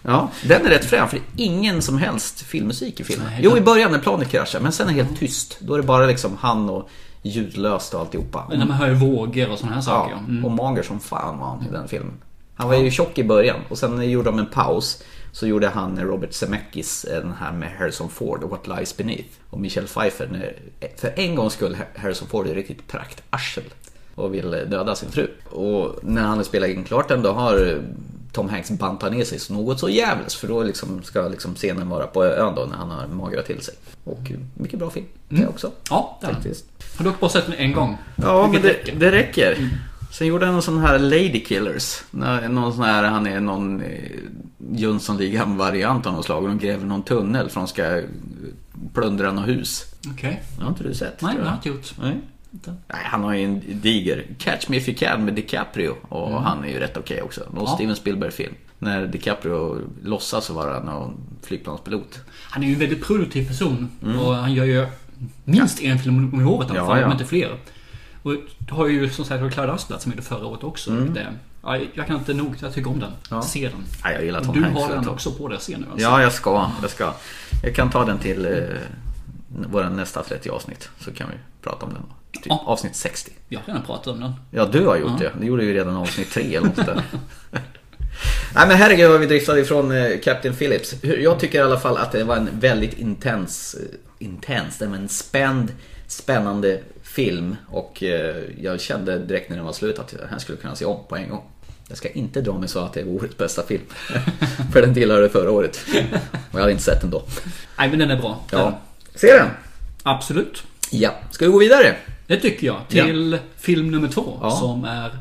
A: Ja, den är rätt frän för det är ingen som helst filmmusik i filmen.
B: Nej,
A: Jo,
B: den-
A: i början när planet kraschar, men sen är det helt tyst. Då är det bara liksom han och ljudlöst och alltihopa.
B: När man hör ju vågor och sådana här saker.
A: Ja,
B: Mm.
A: och mager som fan var han i den filmen. Han var ju tjock i början och sen gjorde de en paus. Så gjorde han Robert Zemeckis eh, den här med Harrison Ford, What Lies Beneath. Och Michelle Pfeiffer, när- för en gångs skull, Harrison Ford är riktigt praktarsel och vill eh, döda sin fru. Och när han har spelat in klart den då har eh, Tom Hanks bantat ner sig så något så jävligt för då liksom ska liksom scenen vara på ön då när han har magrat till sig. Och eh, mycket bra film, det också.
B: Mm. Ja, det är den.
A: Faktiskt.
B: Har dock bara sett den en gång.
A: Ja, men
B: Vilket
A: det,
B: räcker. Mm.
A: det räcker. Sen gjorde han en sån här Lady Killers. Nå- Någon sån här, han är någon eh, Jönssonligan-variant av något slag. Och de gräver någon tunnel för de ska eh, plundra något hus.
B: Okej.
A: Det har inte du sett?
B: Nej,
A: tror
B: det har
A: jag.
B: jag inte gjort.
A: Nej. Nej, han har ju en diger. Catch Me If You Can med DiCaprio. Och han är ju rätt okej också. Någon
B: Mm. Ja.
A: Steven Spielberg-film. När DiCaprio låtsas vara någon flygplanspilot.
B: Han är ju en väldigt produktiv person. Och han gör ju minst en film om året i alla
A: Mm. Ja,
B: fall,
A: ja.
B: om inte fler. Och det har ju som sagt Cloud Asplund som gjorde förra året också. Det, ja, jag kan inte nog, jag tycker om den. Se den.
A: Mm. Ja, jag gillar
B: Och
A: Tom
B: du
A: Hanks
B: har
A: rätt
B: den
A: bra.
B: också på dig att se nu alltså.
A: Ja, jag ska. Jag ska. Jag kan ta den till eh, våra nästa 30 avsnitt. Så kan vi prata om den. Typ
B: Ja.
A: avsnitt 60.
B: Jag har redan pratat om den.
A: Ja, du har gjort det. Det gjorde vi redan i avsnitt 3 eller något där. Nej men herregud vad vi driftade ifrån eh, Captain Phillips. Hur- Jag tycker i alla fall att det var en väldigt intens, eh, intens, nej, men spänd, spännande film. Och eh, jag kände direkt när den var slut att den här skulle jag kunna se om på en gång. Jag ska inte dra mig så att det är årets bästa film. För den tillhörde förra året. Och jag hade inte sett den då.
B: Nej, men den är bra. Den.
A: Ja. Se den!
B: Absolut.
A: Ja. Ska vi gå vidare?
B: Det tycker jag. Till film nummer två som är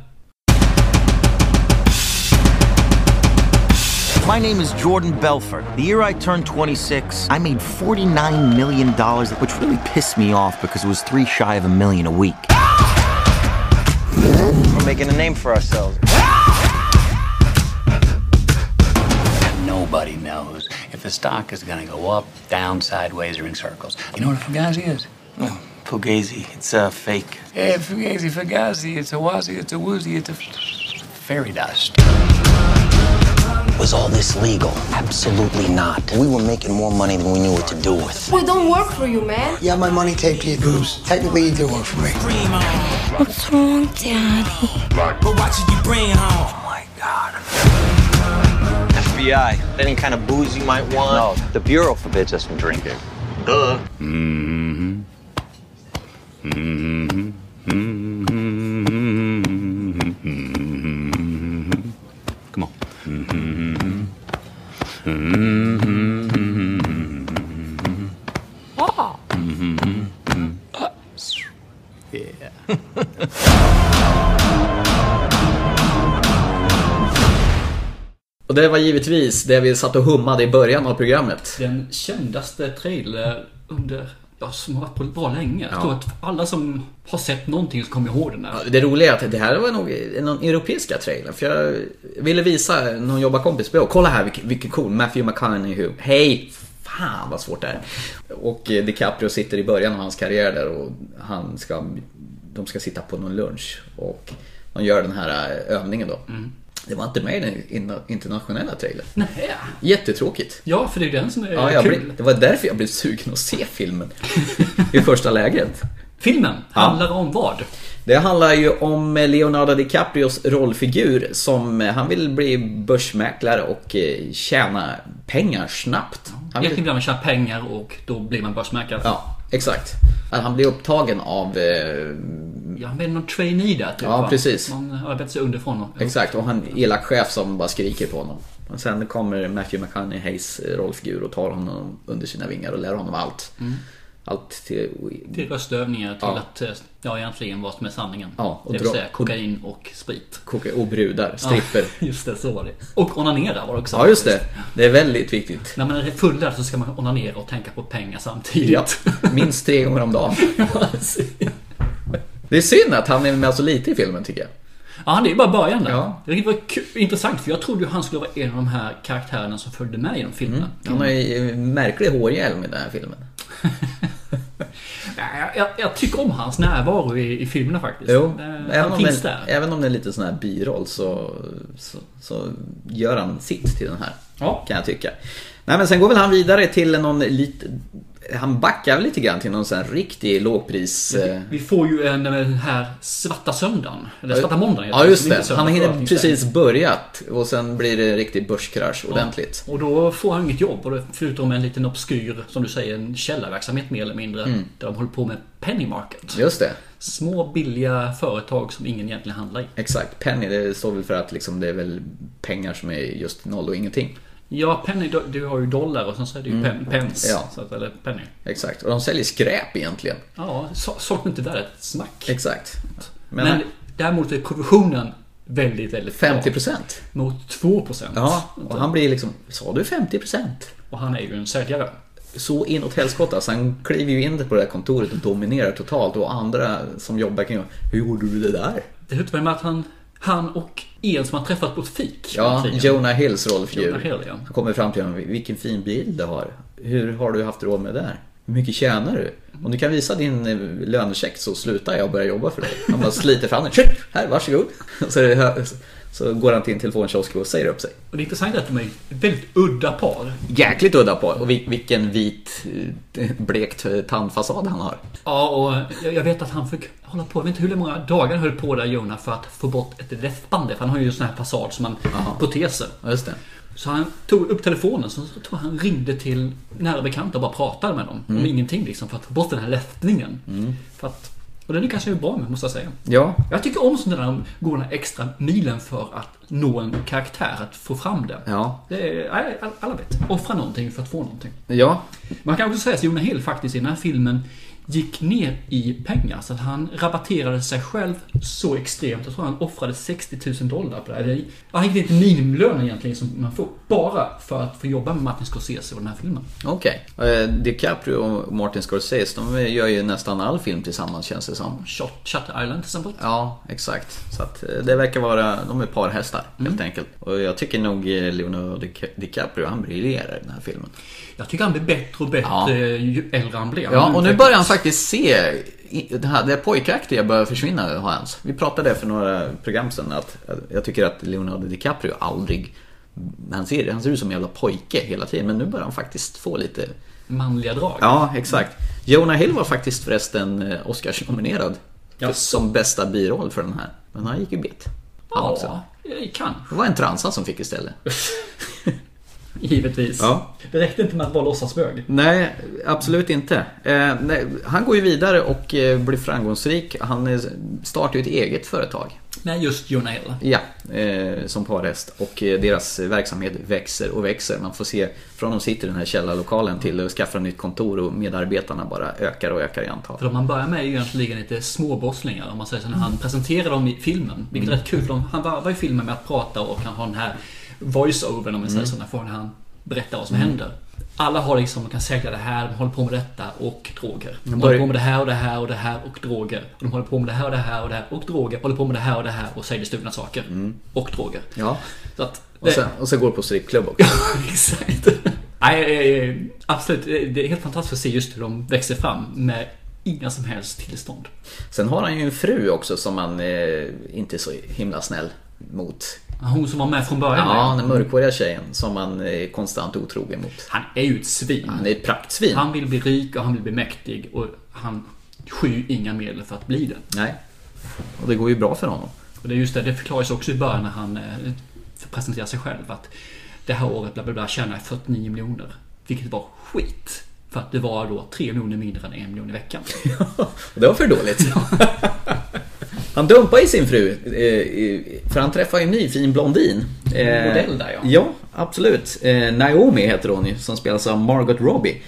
H: My name is Jordan Belfort. The year I turned 26, I made $49 million, which really pissed me off because it was three shy of a million a week. We're making a name for ourselves.
I: Nobody knows if the stock is going to go up, down, sideways, or in circles. You know what a fugazi is?
H: Oh, Fugazi, it's uh, fake.
I: Hey, fugazi, fugazi, it's a wazi, it's a woozy, it's a f- fairy dust.
H: Was all this legal? Absolutely not. We were making more money than we knew what to do with.
J: We don't work for you, man.
K: You have my money taped to your boobs. Technically, you do work for me.
J: What's wrong, Daddy?
H: Oh my God. FBI, any kind of booze you might want. No, the Bureau forbids us from drinking. Duh.
I: Come on.
A: Och det var givetvis det vi satt och hummade i början av programmet.
B: den kändaste trailer under, ja, som har varit på bra länge. Jag tror att alla som har sett någonting så kommer ihåg den där.
A: Det roliga är att det här var nog någon europeiska trailern. För jag ville visa någon jobbarkompis på Kolla här vilken, vilken cool Matthew McConaughey. Hej! Fan vad svårt det är. Och eh, DiCaprio sitter i början av hans karriär där och han ska, de ska sitta på någon lunch. Och de gör den här eh, övningen då. Det var inte med i den inna- internationella trailern.
B: Nej.
A: Jättetråkigt.
B: Ja, för det är ju den som är
A: Ja, jag
B: kul.
A: blev, det var därför jag blev sugen att se filmen i första läget.
B: Filmen handlar om vad?
A: Det handlar ju om Leonardo DiCaprios rollfigur som eh, han vill bli börsmäklare och eh, tjäna pengar snabbt. Han
B: Egentligen
A: vill,
B: vill man tjäna pengar och då blir man börsmäklare.
A: ja, exakt. Att han blir upptagen av... Eh,
B: Ja, han blir någon trainee där typ,
A: Ja,
B: va?
A: precis.
B: Man arbetar sig underifrån. och-
A: exakt, och han elak chef som bara skriker på honom. Och sen kommer Matthew McConaugheys rollfigur och tar honom under sina vingar och lär honom allt.
B: Mm.
A: Allt till...
B: Till röstövningar, till
A: Ja.
B: att... eh, Ja, egentligen vad som är sanningen.
A: Ja, och
B: det vill
A: dra-
B: säga kokain och sprit.
A: koka- Och brudar, stripper.
B: Ja, just det, så var det. Och onanera var det också.
A: Ja, just det. Det är väldigt viktigt.
B: När man är fullare så ska man onanera och tänka på pengar samtidigt.
A: Ja, minst tre gånger om dagen. Det är synd att han är med så lite i filmen tycker jag.
B: Ja, det är bara början där. Det var kul, intressant för jag trodde ju han skulle vara en av de här karaktärerna som följde med genom filmen.
A: Han har ju en märklig hårhjälm i den här filmen.
B: Ja, Jag, jag, jag tycker om hans närvaro i, i filmerna faktiskt.
A: Jo,
B: Eh,
A: även
B: han
A: om,
B: finns
A: den,
B: där.
A: även om det är en liten sån här biroll så, så, så gör han sitt till den här. Kan jag tycka. Nej men sen går väl han vidare till någon lite... Han backar väl lite grann till någon sån här riktig lågpris... eh,
B: Vi får ju en eh, den här svarta söndagen. Eller svarta måndagen. heter
A: Ja just
B: Inte
A: det.
B: söndag,
A: Han
B: tror
A: hinner
B: jag.
A: precis börjat och sen blir det en riktig börskrasch
B: Ja.
A: ordentligt.
B: Och då får han inget jobb. Och det- Förutom en liten obskyr, som du säger, en källarverksamhet mer eller mindre.
A: Mm.
B: Där de håller på med penny market.
A: Just det.
B: Små billiga företag som ingen egentligen handlar i.
A: Exakt. Penny, det står väl för att liksom, det är väl pengar som är just noll och ingenting.
B: Ja, penny, du- du har ju dollar och sen så är det ju
A: Mm.
B: pen, pence.
A: Ja.
B: Så att, eller penny.
A: Exakt. Och de säljer skräp egentligen.
B: Ja, sa- saker inte där ett snack.
A: Exakt.
B: Men,
A: Men-
B: däremot är korruptionen väldigt, väldigt
A: 50%.
B: bra. Mot 2%.
A: Ja, och han blir liksom, sa du 50%?
B: Och han är ju en säljare.
A: Så inåt helskotta. Alltså han kliver ju in på det här kontoret och dominerar totalt. Och andra som jobbar kan ju, hur gjorde du det där?
B: Det slutar med att han, han och en som han träffat på ett fik.
A: Ja,
B: egentligen.
A: Jonah Hills rollfigur.
B: Jonah Hill, ja.
A: Han kommer fram till honom, vilken fin bil du har. Hur har du haft råd med det där? Hur mycket tjänar du? Om du kan visa din eh, lönecheck så slutar jag och börjar jobba för dig. Han bara sliter fram den. "Tjup, Här, varsågod. Så, är det hö- så går han till en telefonkiosk och säger upp sig.
B: Och det intressanta är att de är ett väldigt udda par.
A: Jäkligt udda på. Och vil- vilken vit, eh, blekt eh, tandfasad han har.
B: Ja, och jag, jag vet att han fick hålla på, jag vet inte hur många dagar han höll på där Jonah för att få bort ett läppande. För han har ju en sån här fasad som man, proteser.
A: Just det.
B: Så han tog upp telefonen, så tror jag han ringde till nära bekanta och bara pratade med dem. Om
A: Mm.
B: ingenting liksom, för att få bort den här lättningen. För att, och det lyckas han ju bra med, måste jag säga.
A: Ja.
B: Jag tycker om sådana där, går den här extra milen för att nå en karaktär, att få fram det.
A: Ja.
B: Det är, nej, all- alla vet. Offra någonting för att få någonting.
A: Ja.
B: Man kan också säga att Jonah Hill faktiskt i den här filmen gick ner i pengar. Så att han rabatterade sig själv så extremt. Jag tror han offrade 60 000 dollar på det här. Det- ja, Han gick ner till minimilönen egentligen som man får. Bara för att få jobba med Martin Scorsese och den här filmen.
A: Okej. Eh, DiCaprio och Martin Scorsese, de gör ju nästan all film tillsammans känns det som.
B: Shot, Shutter Island till exempel.
A: Ja, exakt. Mm. Så att eh, det verkar vara, de är parhästar helt enkelt. Och jag tycker nog eh, Leonardo Di- DiCaprio, han briljerar i den här filmen.
B: Jag tycker han blir bättre och bättre
A: Ja.
B: ju äldre han blir.
A: Ja, och nu börjar han faktiskt se, i- det, här, det pojkaktiga börjar försvinna hans. Vi pratade för några program sedan att eh, jag tycker att Leonardo DiCaprio aldrig, han ser, han ser ut som en jävla pojke hela tiden. Men nu börjar han faktiskt få lite,
B: Manliga drag.
A: ja exakt. Jonah Hill var faktiskt förresten eh, Oscars-nominerad. för- Som bästa biroll för den här. Men han gick ju bet. Han
B: Ja,
A: också.
B: eh, kan.
A: Det var en transa som fick istället.
B: Givetvis.
A: Ja.
B: Det räckte inte med att vara låtsasbög.
A: Nej, absolut inte. Eh, nej, han går ju vidare och eh, blir framgångsrik. Han eh, startar ju ett eget företag.
B: Nej, just Jonah Hill.
A: Ja, eh, som parhäst. Och eh, deras verksamhet växer och växer. Man får se från de sitter i den här källarlokalen till att skaffa nytt kontor och medarbetarna bara ökar och ökar i antal.
B: För de han börjar med är ju egentligen lite småbrottslingar om man säger så när
A: Mm.
B: han presenterar dem i filmen. Vilket är rätt kul för de, han varvar ju filmen med att prata och kan ha den här voice-overn om man
A: Mm.
B: säger så. När får han berätta vad som
A: Mm.
B: händer. Alla har liksom, man kan säkra det här, de håller på med detta och droger.
A: De
B: De håller
A: börjar-
B: på med det här och det här och det här och droger. Och de håller på med det här och det här och det här och droger. Håller på med det här och det här och säljer stulna saker. Och droger.
A: Mm. Ja. Eh.
B: Så att,
A: Och sen, och sen går på strippklubb också.
B: Exakt. Nej, eh, eh, absolut. Det det är helt fantastiskt att se just hur de växer fram med inga som helst tillstånd.
A: Sen har han ju en fru också som han eh, inte är så himla snäll mot.
B: Hon som var med från början.
A: Ja, den mörkhåriga tjejen som han är konstant otrogen mot.
B: Han är ju ett svin.
A: Han är ett praktsvin.
B: Han vill bli rik och han vill bli mäktig och han sky inga medel för att bli det.
A: Nej. Och det går ju bra för honom.
B: Och det är just det, det förklaras också i början när han eh, presenterar sig själv att det här året bla bla bla tjänar jag 49 miljoner. Vilket var skit. För att det var då 3 miljoner mindre än 1 miljon i veckan.
A: Och det var för dåligt. Han dumpar ju sin fru. eh, i- För han träffar ju en ny fin blondin. Eh,
B: Modell där, ja.
A: Ja, absolut. Eh, Naomi heter hon ju, som spelas av Margot Robbie.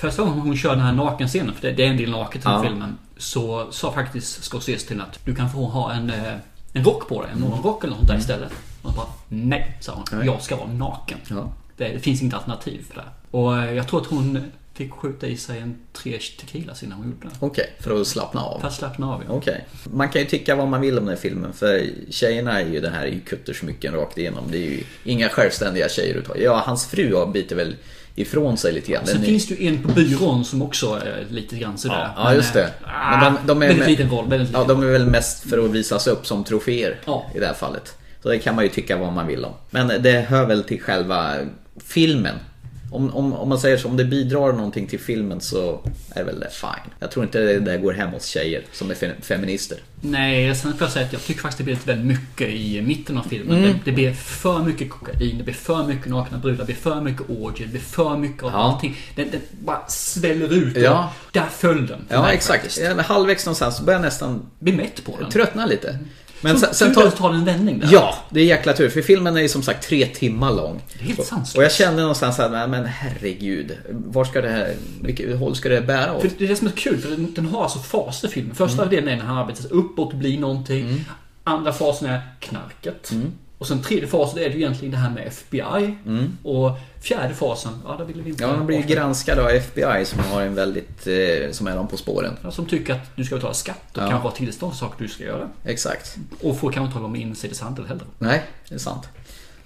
B: Första gången hon kör den här nakenscenen, för det, det är en del naket i den
A: Ja.
B: filmen, så sa faktiskt Scorsese till henne att du kan få ha en, eh, en rock på dig, en morgonrock eller något sånt där istället. Och hon bara, nej, sa hon.
A: Mm. Nej.
B: Jag ska vara naken.
A: Ja.
B: Det, det finns inget alternativ för det. här." Och eh, jag tror att hon fick skjuta i sig en tre tequilas innan hon gjorde det.
A: Okej, för att slappna av.
B: För att slappna av. ja.
A: Okej. Man kan ju tycka vad man vill om den här filmen för tjejerna är ju det här är ju kuttersmycken rakt igenom. Det är ju inga självständiga tjejer utav. Ja, hans fru har- biter väl ifrån sig lite grann.
B: Sen
A: Den är-
B: finns det ju en på byrån som också är lite grann sådär.
A: Ja, just det.
B: Men eh, ah, väldigt liten roll. Väldigt
A: ja,
B: liten.
A: de är väl mest för att visas upp som troféer
B: Ja.
A: i det här fallet. Så det kan man ju tycka vad man vill om. Men det hör väl till själva filmen. Om, om, om man säger så, om det bidrar någonting till filmen så är väl det fine. Jag tror inte det där går hem hos tjejer som är fe- feminister.
B: Nej, sen får jag säga att jag tycker faktiskt det blir lite väl mycket i mitten av filmen.
A: Mm.
B: Det, det blir för mycket kokain, det blir för mycket nakna brudar, det blir för mycket orgier, det blir för mycket av
A: Ja.
B: allting. Det, det bara sväller ut. och
A: Ja.
B: Där föll den. för
A: Ja,
B: mig
A: exakt.
B: faktiskt.
A: Ja, men Halvvägs någonstans så börjar jag nästan
B: Blir mätt på den.
A: tröttna lite. Men
B: Så
A: sen, sen
B: tur
A: tar...
B: att det tar en vändning där.
A: Ja, det är jäkla tur. För filmen är ju som sagt tre timmar lång.
B: Det är helt sanslöst.
A: Och jag kände någonstans att, nej, men herregud. Var ska det här, vilket håll ska det här bära åt?
B: För det är det som är kul, för den, den har alltså faser i filmen. Första
A: Mm.
B: delen är när han arbetar sig uppåt, blir någonting. Andra fasen är knarket.
A: Mm.
B: Och sen tredje fasen är det ju egentligen det här med FBI. Och fjärde fasen, ja där vill vi inte...
A: Mm. Ja, de blir ju
B: avslöja.
A: granskade av FBI som har en väldigt, eh, som är dem på spåren.
B: Ja, Som tycker att du ska betala skatt och
A: Ja.
B: kanske ha tillstånd till saker du ska göra.
A: Exakt.
B: Och får kanske inte hålla om insideshandel heller.
A: Nej, det är sant.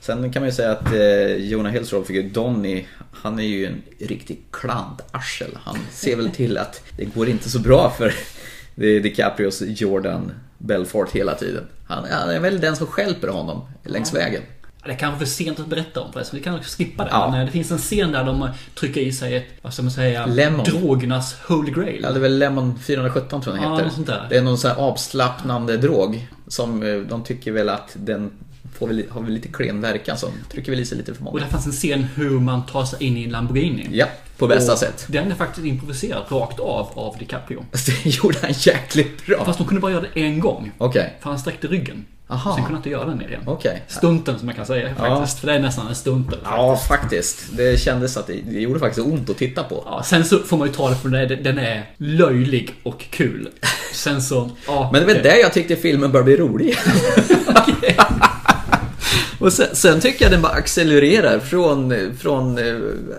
A: Sen kan man ju säga att eh, Jonah Hills rollfigur Donny, han är ju en riktig klantarsel. Han ser väl till att det går inte så bra för det är DiCaprios Jordan Belfort hela tiden. Han, han är väl den som stjälper honom längs vägen.
B: Ja, Det är kanske för sent att berätta om förresten. Vi kan också skippa det.
A: Ja.
B: Men eh, det finns en scen där de eh, trycker i sig ett, vad ska man säga,
A: Lemon.
B: drogernas holy grail.
A: Ja, det är väl Lemon 417 tror jag den
B: Ja,
A: heter.
B: något sånt där.
A: Det är någon sån här avslappnande drog. Som eh, de tycker väl att den får väl, har väl lite klen verkan. Så de trycker väl i sig lite för
B: Och
A: många.
B: där fanns en scen hur man tar sig in i en Lamborghini.
A: Ja, på bästa
B: Och
A: sätt.
B: Den är faktiskt improviserad rakt av av DiCaprio.
A: Det gjorde han jäkligt bra.
B: Fast de kunde bara göra det en gång.
A: Okej.
B: För han sträckte ryggen.
A: Aha.
B: Sen kunde han inte göra den mer igen.
A: Okej.
B: Stunten som man kan säga faktiskt. För det är nästan en stunten.
A: Ja, faktiskt. Det kändes att det, det gjorde faktiskt ont att titta på.
B: Ja, sen så får man ju ta det för den är, den är löjlig och kul. Sen så... Ja,
A: Men det var
B: okej.
A: där jag tyckte filmen började bli rolig. Och sen, sen tycker jag den bara accelererar från, från eh,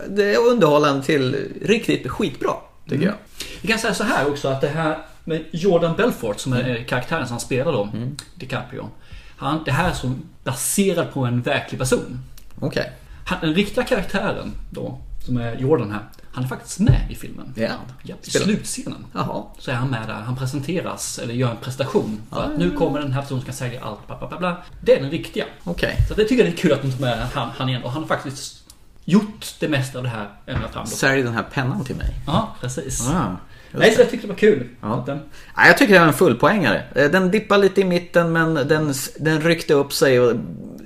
A: det underhållande till riktigt skitbra. Tycker jag.
B: Vi kan säga så här också att det här med Jordan Belfort som är
A: Mm.
B: karaktären som han spelar då, DiCaprio. Han, det här är som baserat på en verklig person.
A: Okej.
B: Han, den riktiga karaktären då, som är Jordan här, han är faktiskt med i filmen.
A: Ja.
B: Ja, I
A: Spelar-
B: slutscenen
A: Jaha.
B: så är han med där. Han presenteras, eller gör en presentation. För att
A: Ah.
B: nu kommer den här personen som kan säga allt, bla bla bla. bla. Det är den riktiga.
A: Okej.
B: Så det tycker jag det är kul att de tar med han, han igen. Och han har faktiskt gjort det mesta av det här ända fram då.
A: Sälj den här pennan till mig.
B: Ja, precis.
A: Ah,
B: Nej, så jag tyckte det var kul.
A: Ja.
B: Att den-
A: Nej, jag tycker det är en fullpoängare. Eh, Den dippar lite i mitten men den, den ryckte upp sig och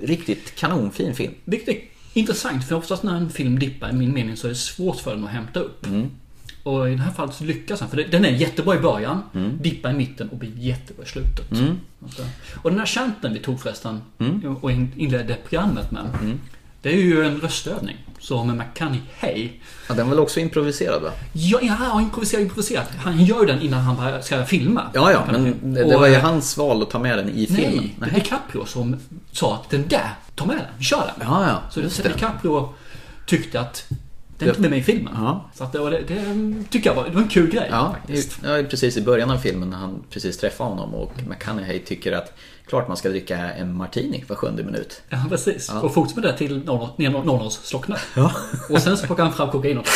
A: riktigt kanonfin film.
B: Vilket är intressant, för oftast när en film dippar i min mening så är det svårt för den att hämta upp.
A: Mm.
B: Och i det här fallet så lyckas han. För det- den är jättebra i början,
A: Mm.
B: dippar i mitten och blir jättebra i slutet. Alltså. Och den här chanten vi tog förresten
A: Mm.
B: och in- inledde programmet med. Det är ju en röstövning. Så med McConaughey.
A: Ja, den var väl också improviserad va?
B: Ja, ja, improvisera, improvisera. Han gör ju den innan han bara ska filma.
A: Ja, ja, men det, det
B: Och,
A: var ju
B: eh,
A: hans val att ta med den i filmen.
B: Nej, det är DiCaprio som sa att den där, ta med den, kör den.
A: Ja, ja,
B: så
A: just
B: det.
A: det.
B: DiCaprio tyckte att den tog med mig i filmen.
A: Ja.
B: Så att det, var, det, det tycker jag var, det var en kul grej
A: Ja,
B: faktiskt.
A: i- ja, precis i början av filmen när han precis träffar honom och McConaughey tycker att klart man ska dricka en martini var sjunde minut.
B: Ja, precis. Och fortsätter med det till någon, ner- någon av oss slocknar.
A: Ja.
B: Och sen så plockar han fram kokain och...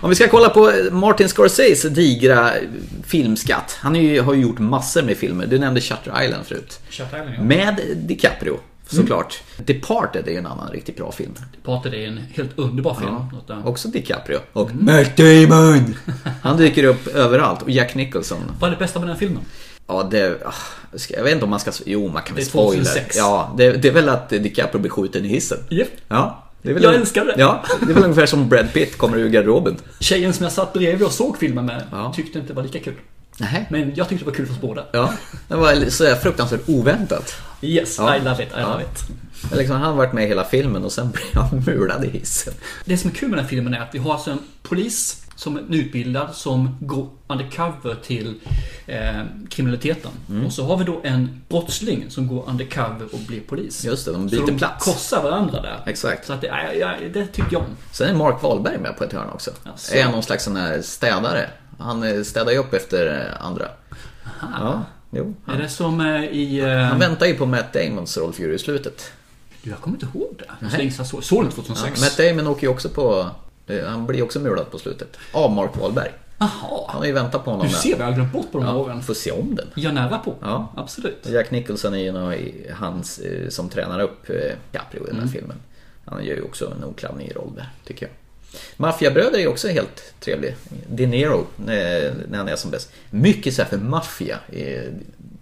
A: Om vi ska kolla på eh, Martin Scorsese digra eh, filmskatt. Han är ju, har ju gjort massor med filmer. Du nämnde Shutter Island förut.
B: Shutter Island, ja. Mm.
A: Med DiCaprio. såklart. Departed är ju en annan riktigt bra film.
B: Departed är en helt underbar film. Lotta.
A: Också DiCaprio. Och
B: Mm.
A: Matt Damon! Han dyker upp överallt. Och Jack Nicholson.
B: Vad är det bästa med den filmen?
A: Ja, det... ah, ska- Jag vet inte om man ska... Jo, man kan väl
B: Det är
A: spoila.
B: 2006.
A: Ja, det, det är väl att DiCaprio blir skjuten i hissen.
B: Japp.
A: Ja. Det är väl
B: Jag älskar det.
A: Ja, det är väl ungefär som Brad Pitt kommer ur garderoben.
B: Tjejen som jag satt bredvid och såg filmen med tyckte inte det var lika kul.
A: Nej.
B: Men jag tyckte det var kul för oss båda.
A: Ja, det var så här fruktansvärt oväntat.
B: Yes,
A: Ja.
B: I love it, I love it.
A: Liksom, han har varit med hela filmen och sen blir han mulad i hissen.
B: Det som är kul med den här filmen är att vi har alltså en polis som är utbildad som går undercover till eh, kriminaliteten.
A: Mm.
B: Och så har vi då en brottsling som går undercover och blir polis.
A: Just det, de
B: så
A: byter
B: de
A: plats.
B: korsar varandra där.
A: Exakt.
B: Så att det, ja, ja, det tycker jag om.
A: Sen är Mark Wahlberg med på ett hörn också.
B: Jaså.
A: Är han någon slags sån här städare? Han eh, städar ju upp efter eh, andra. Ja, jo.
B: Är det som eh, i... Eh,
A: Han väntar ju på Matt Damons rollfigur i slutet.
B: du, jag kommer inte ihåg det. Det var Så länge sedan jag såg- såg den
A: Ja,
B: 2006.
A: Matt Damon åker ju också på... eh, Han blir också mulad på slutet. Av Mark Wahlberg. Han
B: Jaha.
A: har ju väntat på honom.
B: Du
A: där.
B: ser vad jag har glömt bort på de här
A: ja,
B: åren.
A: Får se om den.
B: Jag är nära på.
A: Ja.
B: Absolut.
A: Jack Nicholson är ju nog i- hans eh, som tränar upp eh, Caprio i den här
B: Mm.
A: filmen. Han gör ju också en oklandig roll där, tycker jag. Maffiabröder är också helt trevlig. De Niro, eh, när han är som bäst. Mycket så här för maffia. eh,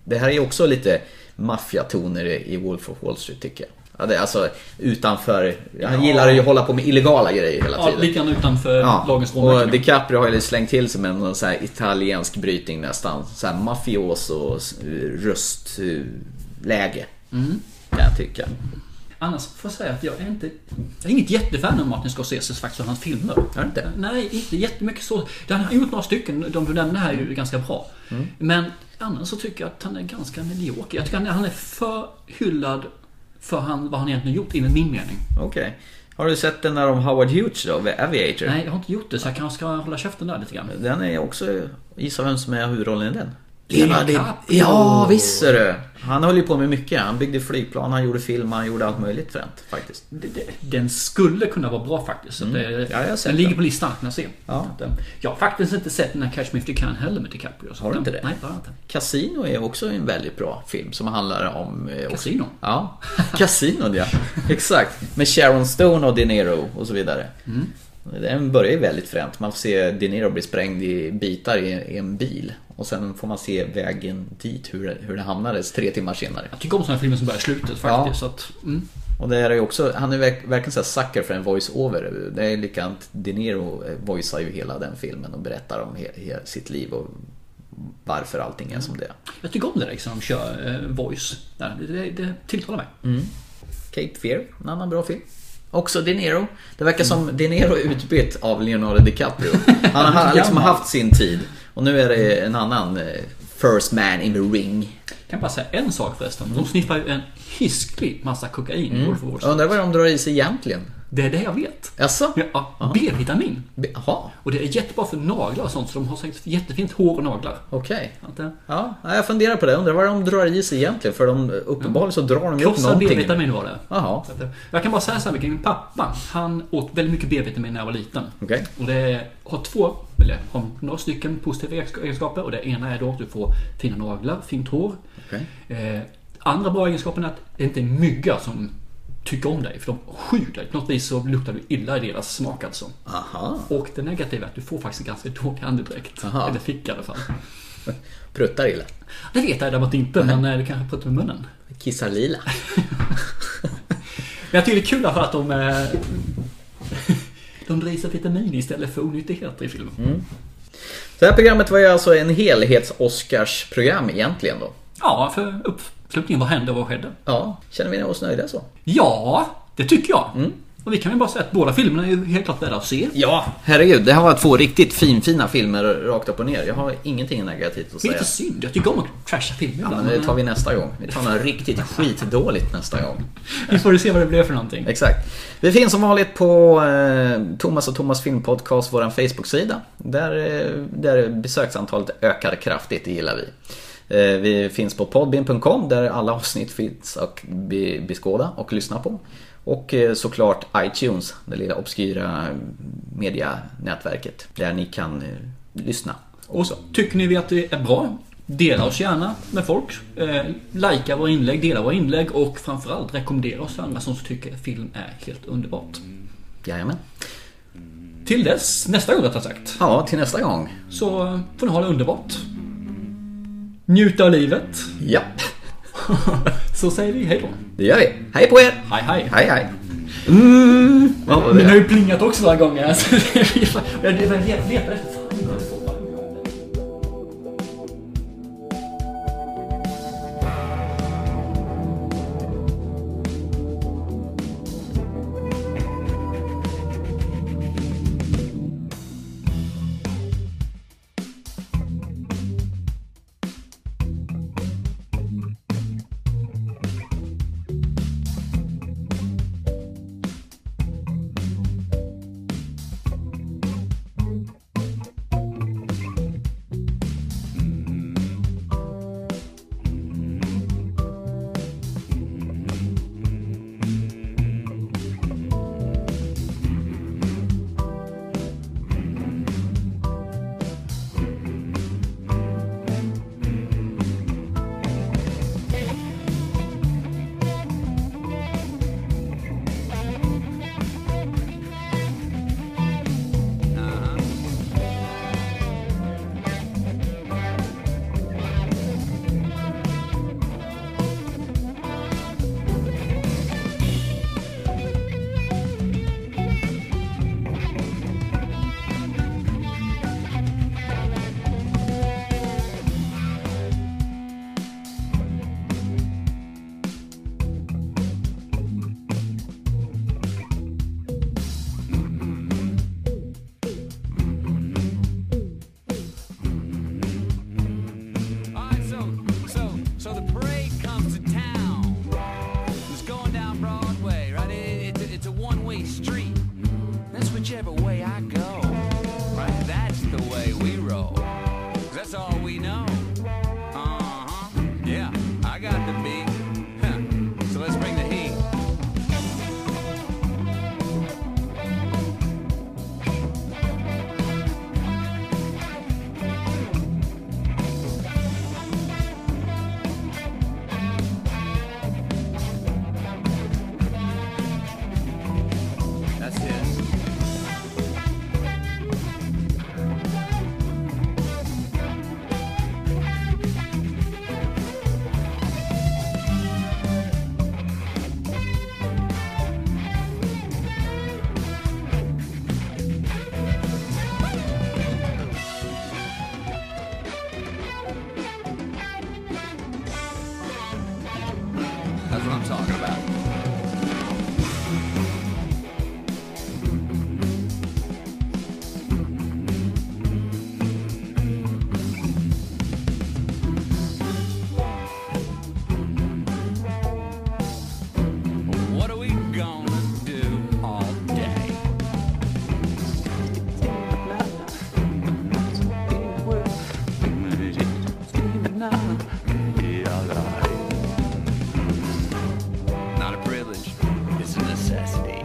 A: Det här är ju också lite maffiatoner i i Wolf of Wall Street, tycker jag. Ja, det är alltså utanför... Han gillar ju att hålla på med illegala grejer hela
B: Ja,
A: tiden.
B: lite grann utanför lagens
A: och
B: råmärken.
A: DiCaprio har ju slängt till sig med någon så här italiensk brytning nästan. Så här mafioso eh, röstläge. Kan jag tycka.
B: Annars får jag säga att jag är inte... Jag är inget jättefan av Martin Scorseses faktiskt och hans filmer.
A: Är du inte?
B: Nej, inte jättemycket så. Han har gjort några stycken, de du nämnde här är
A: Mm.
B: ju ganska bra. Men annars så tycker jag att han är ganska medioker. Jag tycker han är, han är för hyllad för han, vad han egentligen gjort, enligt min mening.
A: Okej. Har du sett den där om Howard Hughes då? Aviator?
B: Nej, jag har inte gjort det så jag kanske ska hålla käften där lite grann.
A: Den är också... Gissa vem som är huvudrollen i den?
B: DiCaprio.
A: Ja, visst är du! Han höll ju på med mycket. Han byggde flygplan, han gjorde film, han gjorde allt möjligt fränt faktiskt.
B: Det- det- Den skulle kunna vara bra faktiskt. Så det,
A: Mm. Ja, jag har sett
B: den ligger
A: den.
B: på listan, kan jag se.
A: Ja.
B: Så att, eh, Jag har faktiskt inte sett den här Catch Me If You Can heller med DiCaprio. Så
A: Har du
B: den-
A: inte det?
B: Nej, det har jag inte.
A: Casino är också en väldigt bra film som handlar om... eh, också-
B: Casino?
A: Ja, Casino ja. Exakt. Med Sharon Stone och De Niro och så vidare. Den börjar ju väldigt fränt. Man får se De Niro bli sprängd i bitar i i en bil. Och sen får man se vägen dit, hur det, hur det hamnades tre timmar senare.
B: Jag tycker om sådana filmer som börjar i slutet faktiskt. Så att, mm.
A: Och det här är ju också, han är verk- verkligen såhär sucker för en voice-over. Det är likadant, De Niro eh, voicear ju hela den filmen och berättar om he- he- sitt liv och varför allting är som det är.
B: Jag tycker om det där liksom, de kör eh, voice. Där. Det, det, det tilltalar mig.
A: Cape Fear, en annan bra film. Också De Niro. Det verkar som De Niro är utbytt av Leonardo DiCaprio. Han har liksom
B: Gammal.
A: haft sin tid. Och nu är det en annan eh, First Man in the Ring.
B: Jag kan bara säga en sak förresten. De sniffar ju en hisklig massa kokain i Wolf of Wall
A: Jag
B: Street.
A: undrar vad de drar i sig egentligen.
B: Det är det jag vet.
A: Jaså?
B: Ja, B-vitamin.
A: B- Jaha,
B: Och det är jättebra för naglar och sånt. Så de har säkert jättefint hår och naglar.
A: okej.
B: Att, eh,
A: Ja, nej, jag funderar på det. Undrar vad de drar i sig egentligen. För de, uppenbarligen så drar de ju upp
B: Krossad
A: någonting.
B: B-vitamin var det.
A: Jaha,
B: Så att, eh, Jag kan bara säga så här mycket. Min pappa, han åt väldigt mycket B-vitamin när jag var liten.
A: Okej.
B: Och det har två, eller har några stycken positiva egensk- egenskaper. Och det ena är då att du får fina naglar, fint hår.
A: Okej.
B: Eh, andra bra egenskapen är att det inte är myggar som tycker om dig. För de skyr dig. På något vis så luktar du illa i deras smak alltså.
A: aha.
B: Och det negativa är att du får faktiskt en ganska dålig andedräkt.
A: Aha.
B: Eller fick i alla fall.
A: Pruttar illa.
B: Det vet jag däremot inte, men eh, det kanske pruttar med munnen.
A: Kissar lila.
B: Men jag tycker det är kul därför att de... eh, De drar i sig vitamin istället för onyttigheter i filmen.
A: Mm. Det här programmet var ju alltså en helhets-Oscars-program egentligen då.
B: Ja, för uppslutningen. Vad hände och vad skedde?
A: Ja, känner vi oss nöjda så?
B: Ja, det tycker jag. Och vi kan ju bara säga att båda filmerna är ju helt klart värda att se.
A: Mm. Ja, herregud. Det här var två riktigt finfina filmer rakt upp och ner. Jag har ingenting negativt att
B: Det är
A: säga.
B: lite synd. Jag tycker om att trasha filmer
A: Ja,
B: ibland.
A: men det tar vi nästa gång. Vi tar något riktigt skitdåligt nästa gång.
B: Vi får ju se vad det blir för någonting.
A: Exakt. Vi finns som vanligt på eh, Thomas och Thomas filmpodcast, vår Facebook-sida. Där, eh, där besöksantalet ökar kraftigt, det gillar vi. Eh, vi finns på podbin.com där alla avsnitt finns att be- beskåda och lyssna på. Och eh, såklart iTunes, det lilla obskyra medianätverket där ni kan eh, lyssna.
B: Och så, tycker ni vi att det är bra, Dela oss gärna med folk. Eh, Lajka våra inlägg, dela våra inlägg och framförallt rekommendera oss till andra som tycker att film är helt underbart.
A: Jajamän.
B: Till dess, nästa gång rättare sagt.
A: Ja, till nästa gång.
B: Så eh, får ni ha det underbart. Njuta av livet.
A: Ja,
B: Så säger vi hej då.
A: det gör vi. Hej på er!
B: Hej hej.
A: Hej hej! Mm. Vad var
B: Den har
A: det?
B: ju plingat också några gånger. Så det är ju fan- jag letar efter...
L: Alright, so, so, so the parade comes to town. It's going down Broadway, right? It, it, it's a one-way street. That's whichever way I go, right? That's the way we roll. 'Cause That's all we know. Uh-huh. Yeah, I got the beat. Huh. So let's bring the heat. That's it. That's what I'm talking about. What are we gonna do all day? Not a privilege, it's a necessity.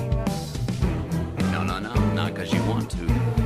L: No, no, no, not because you want to.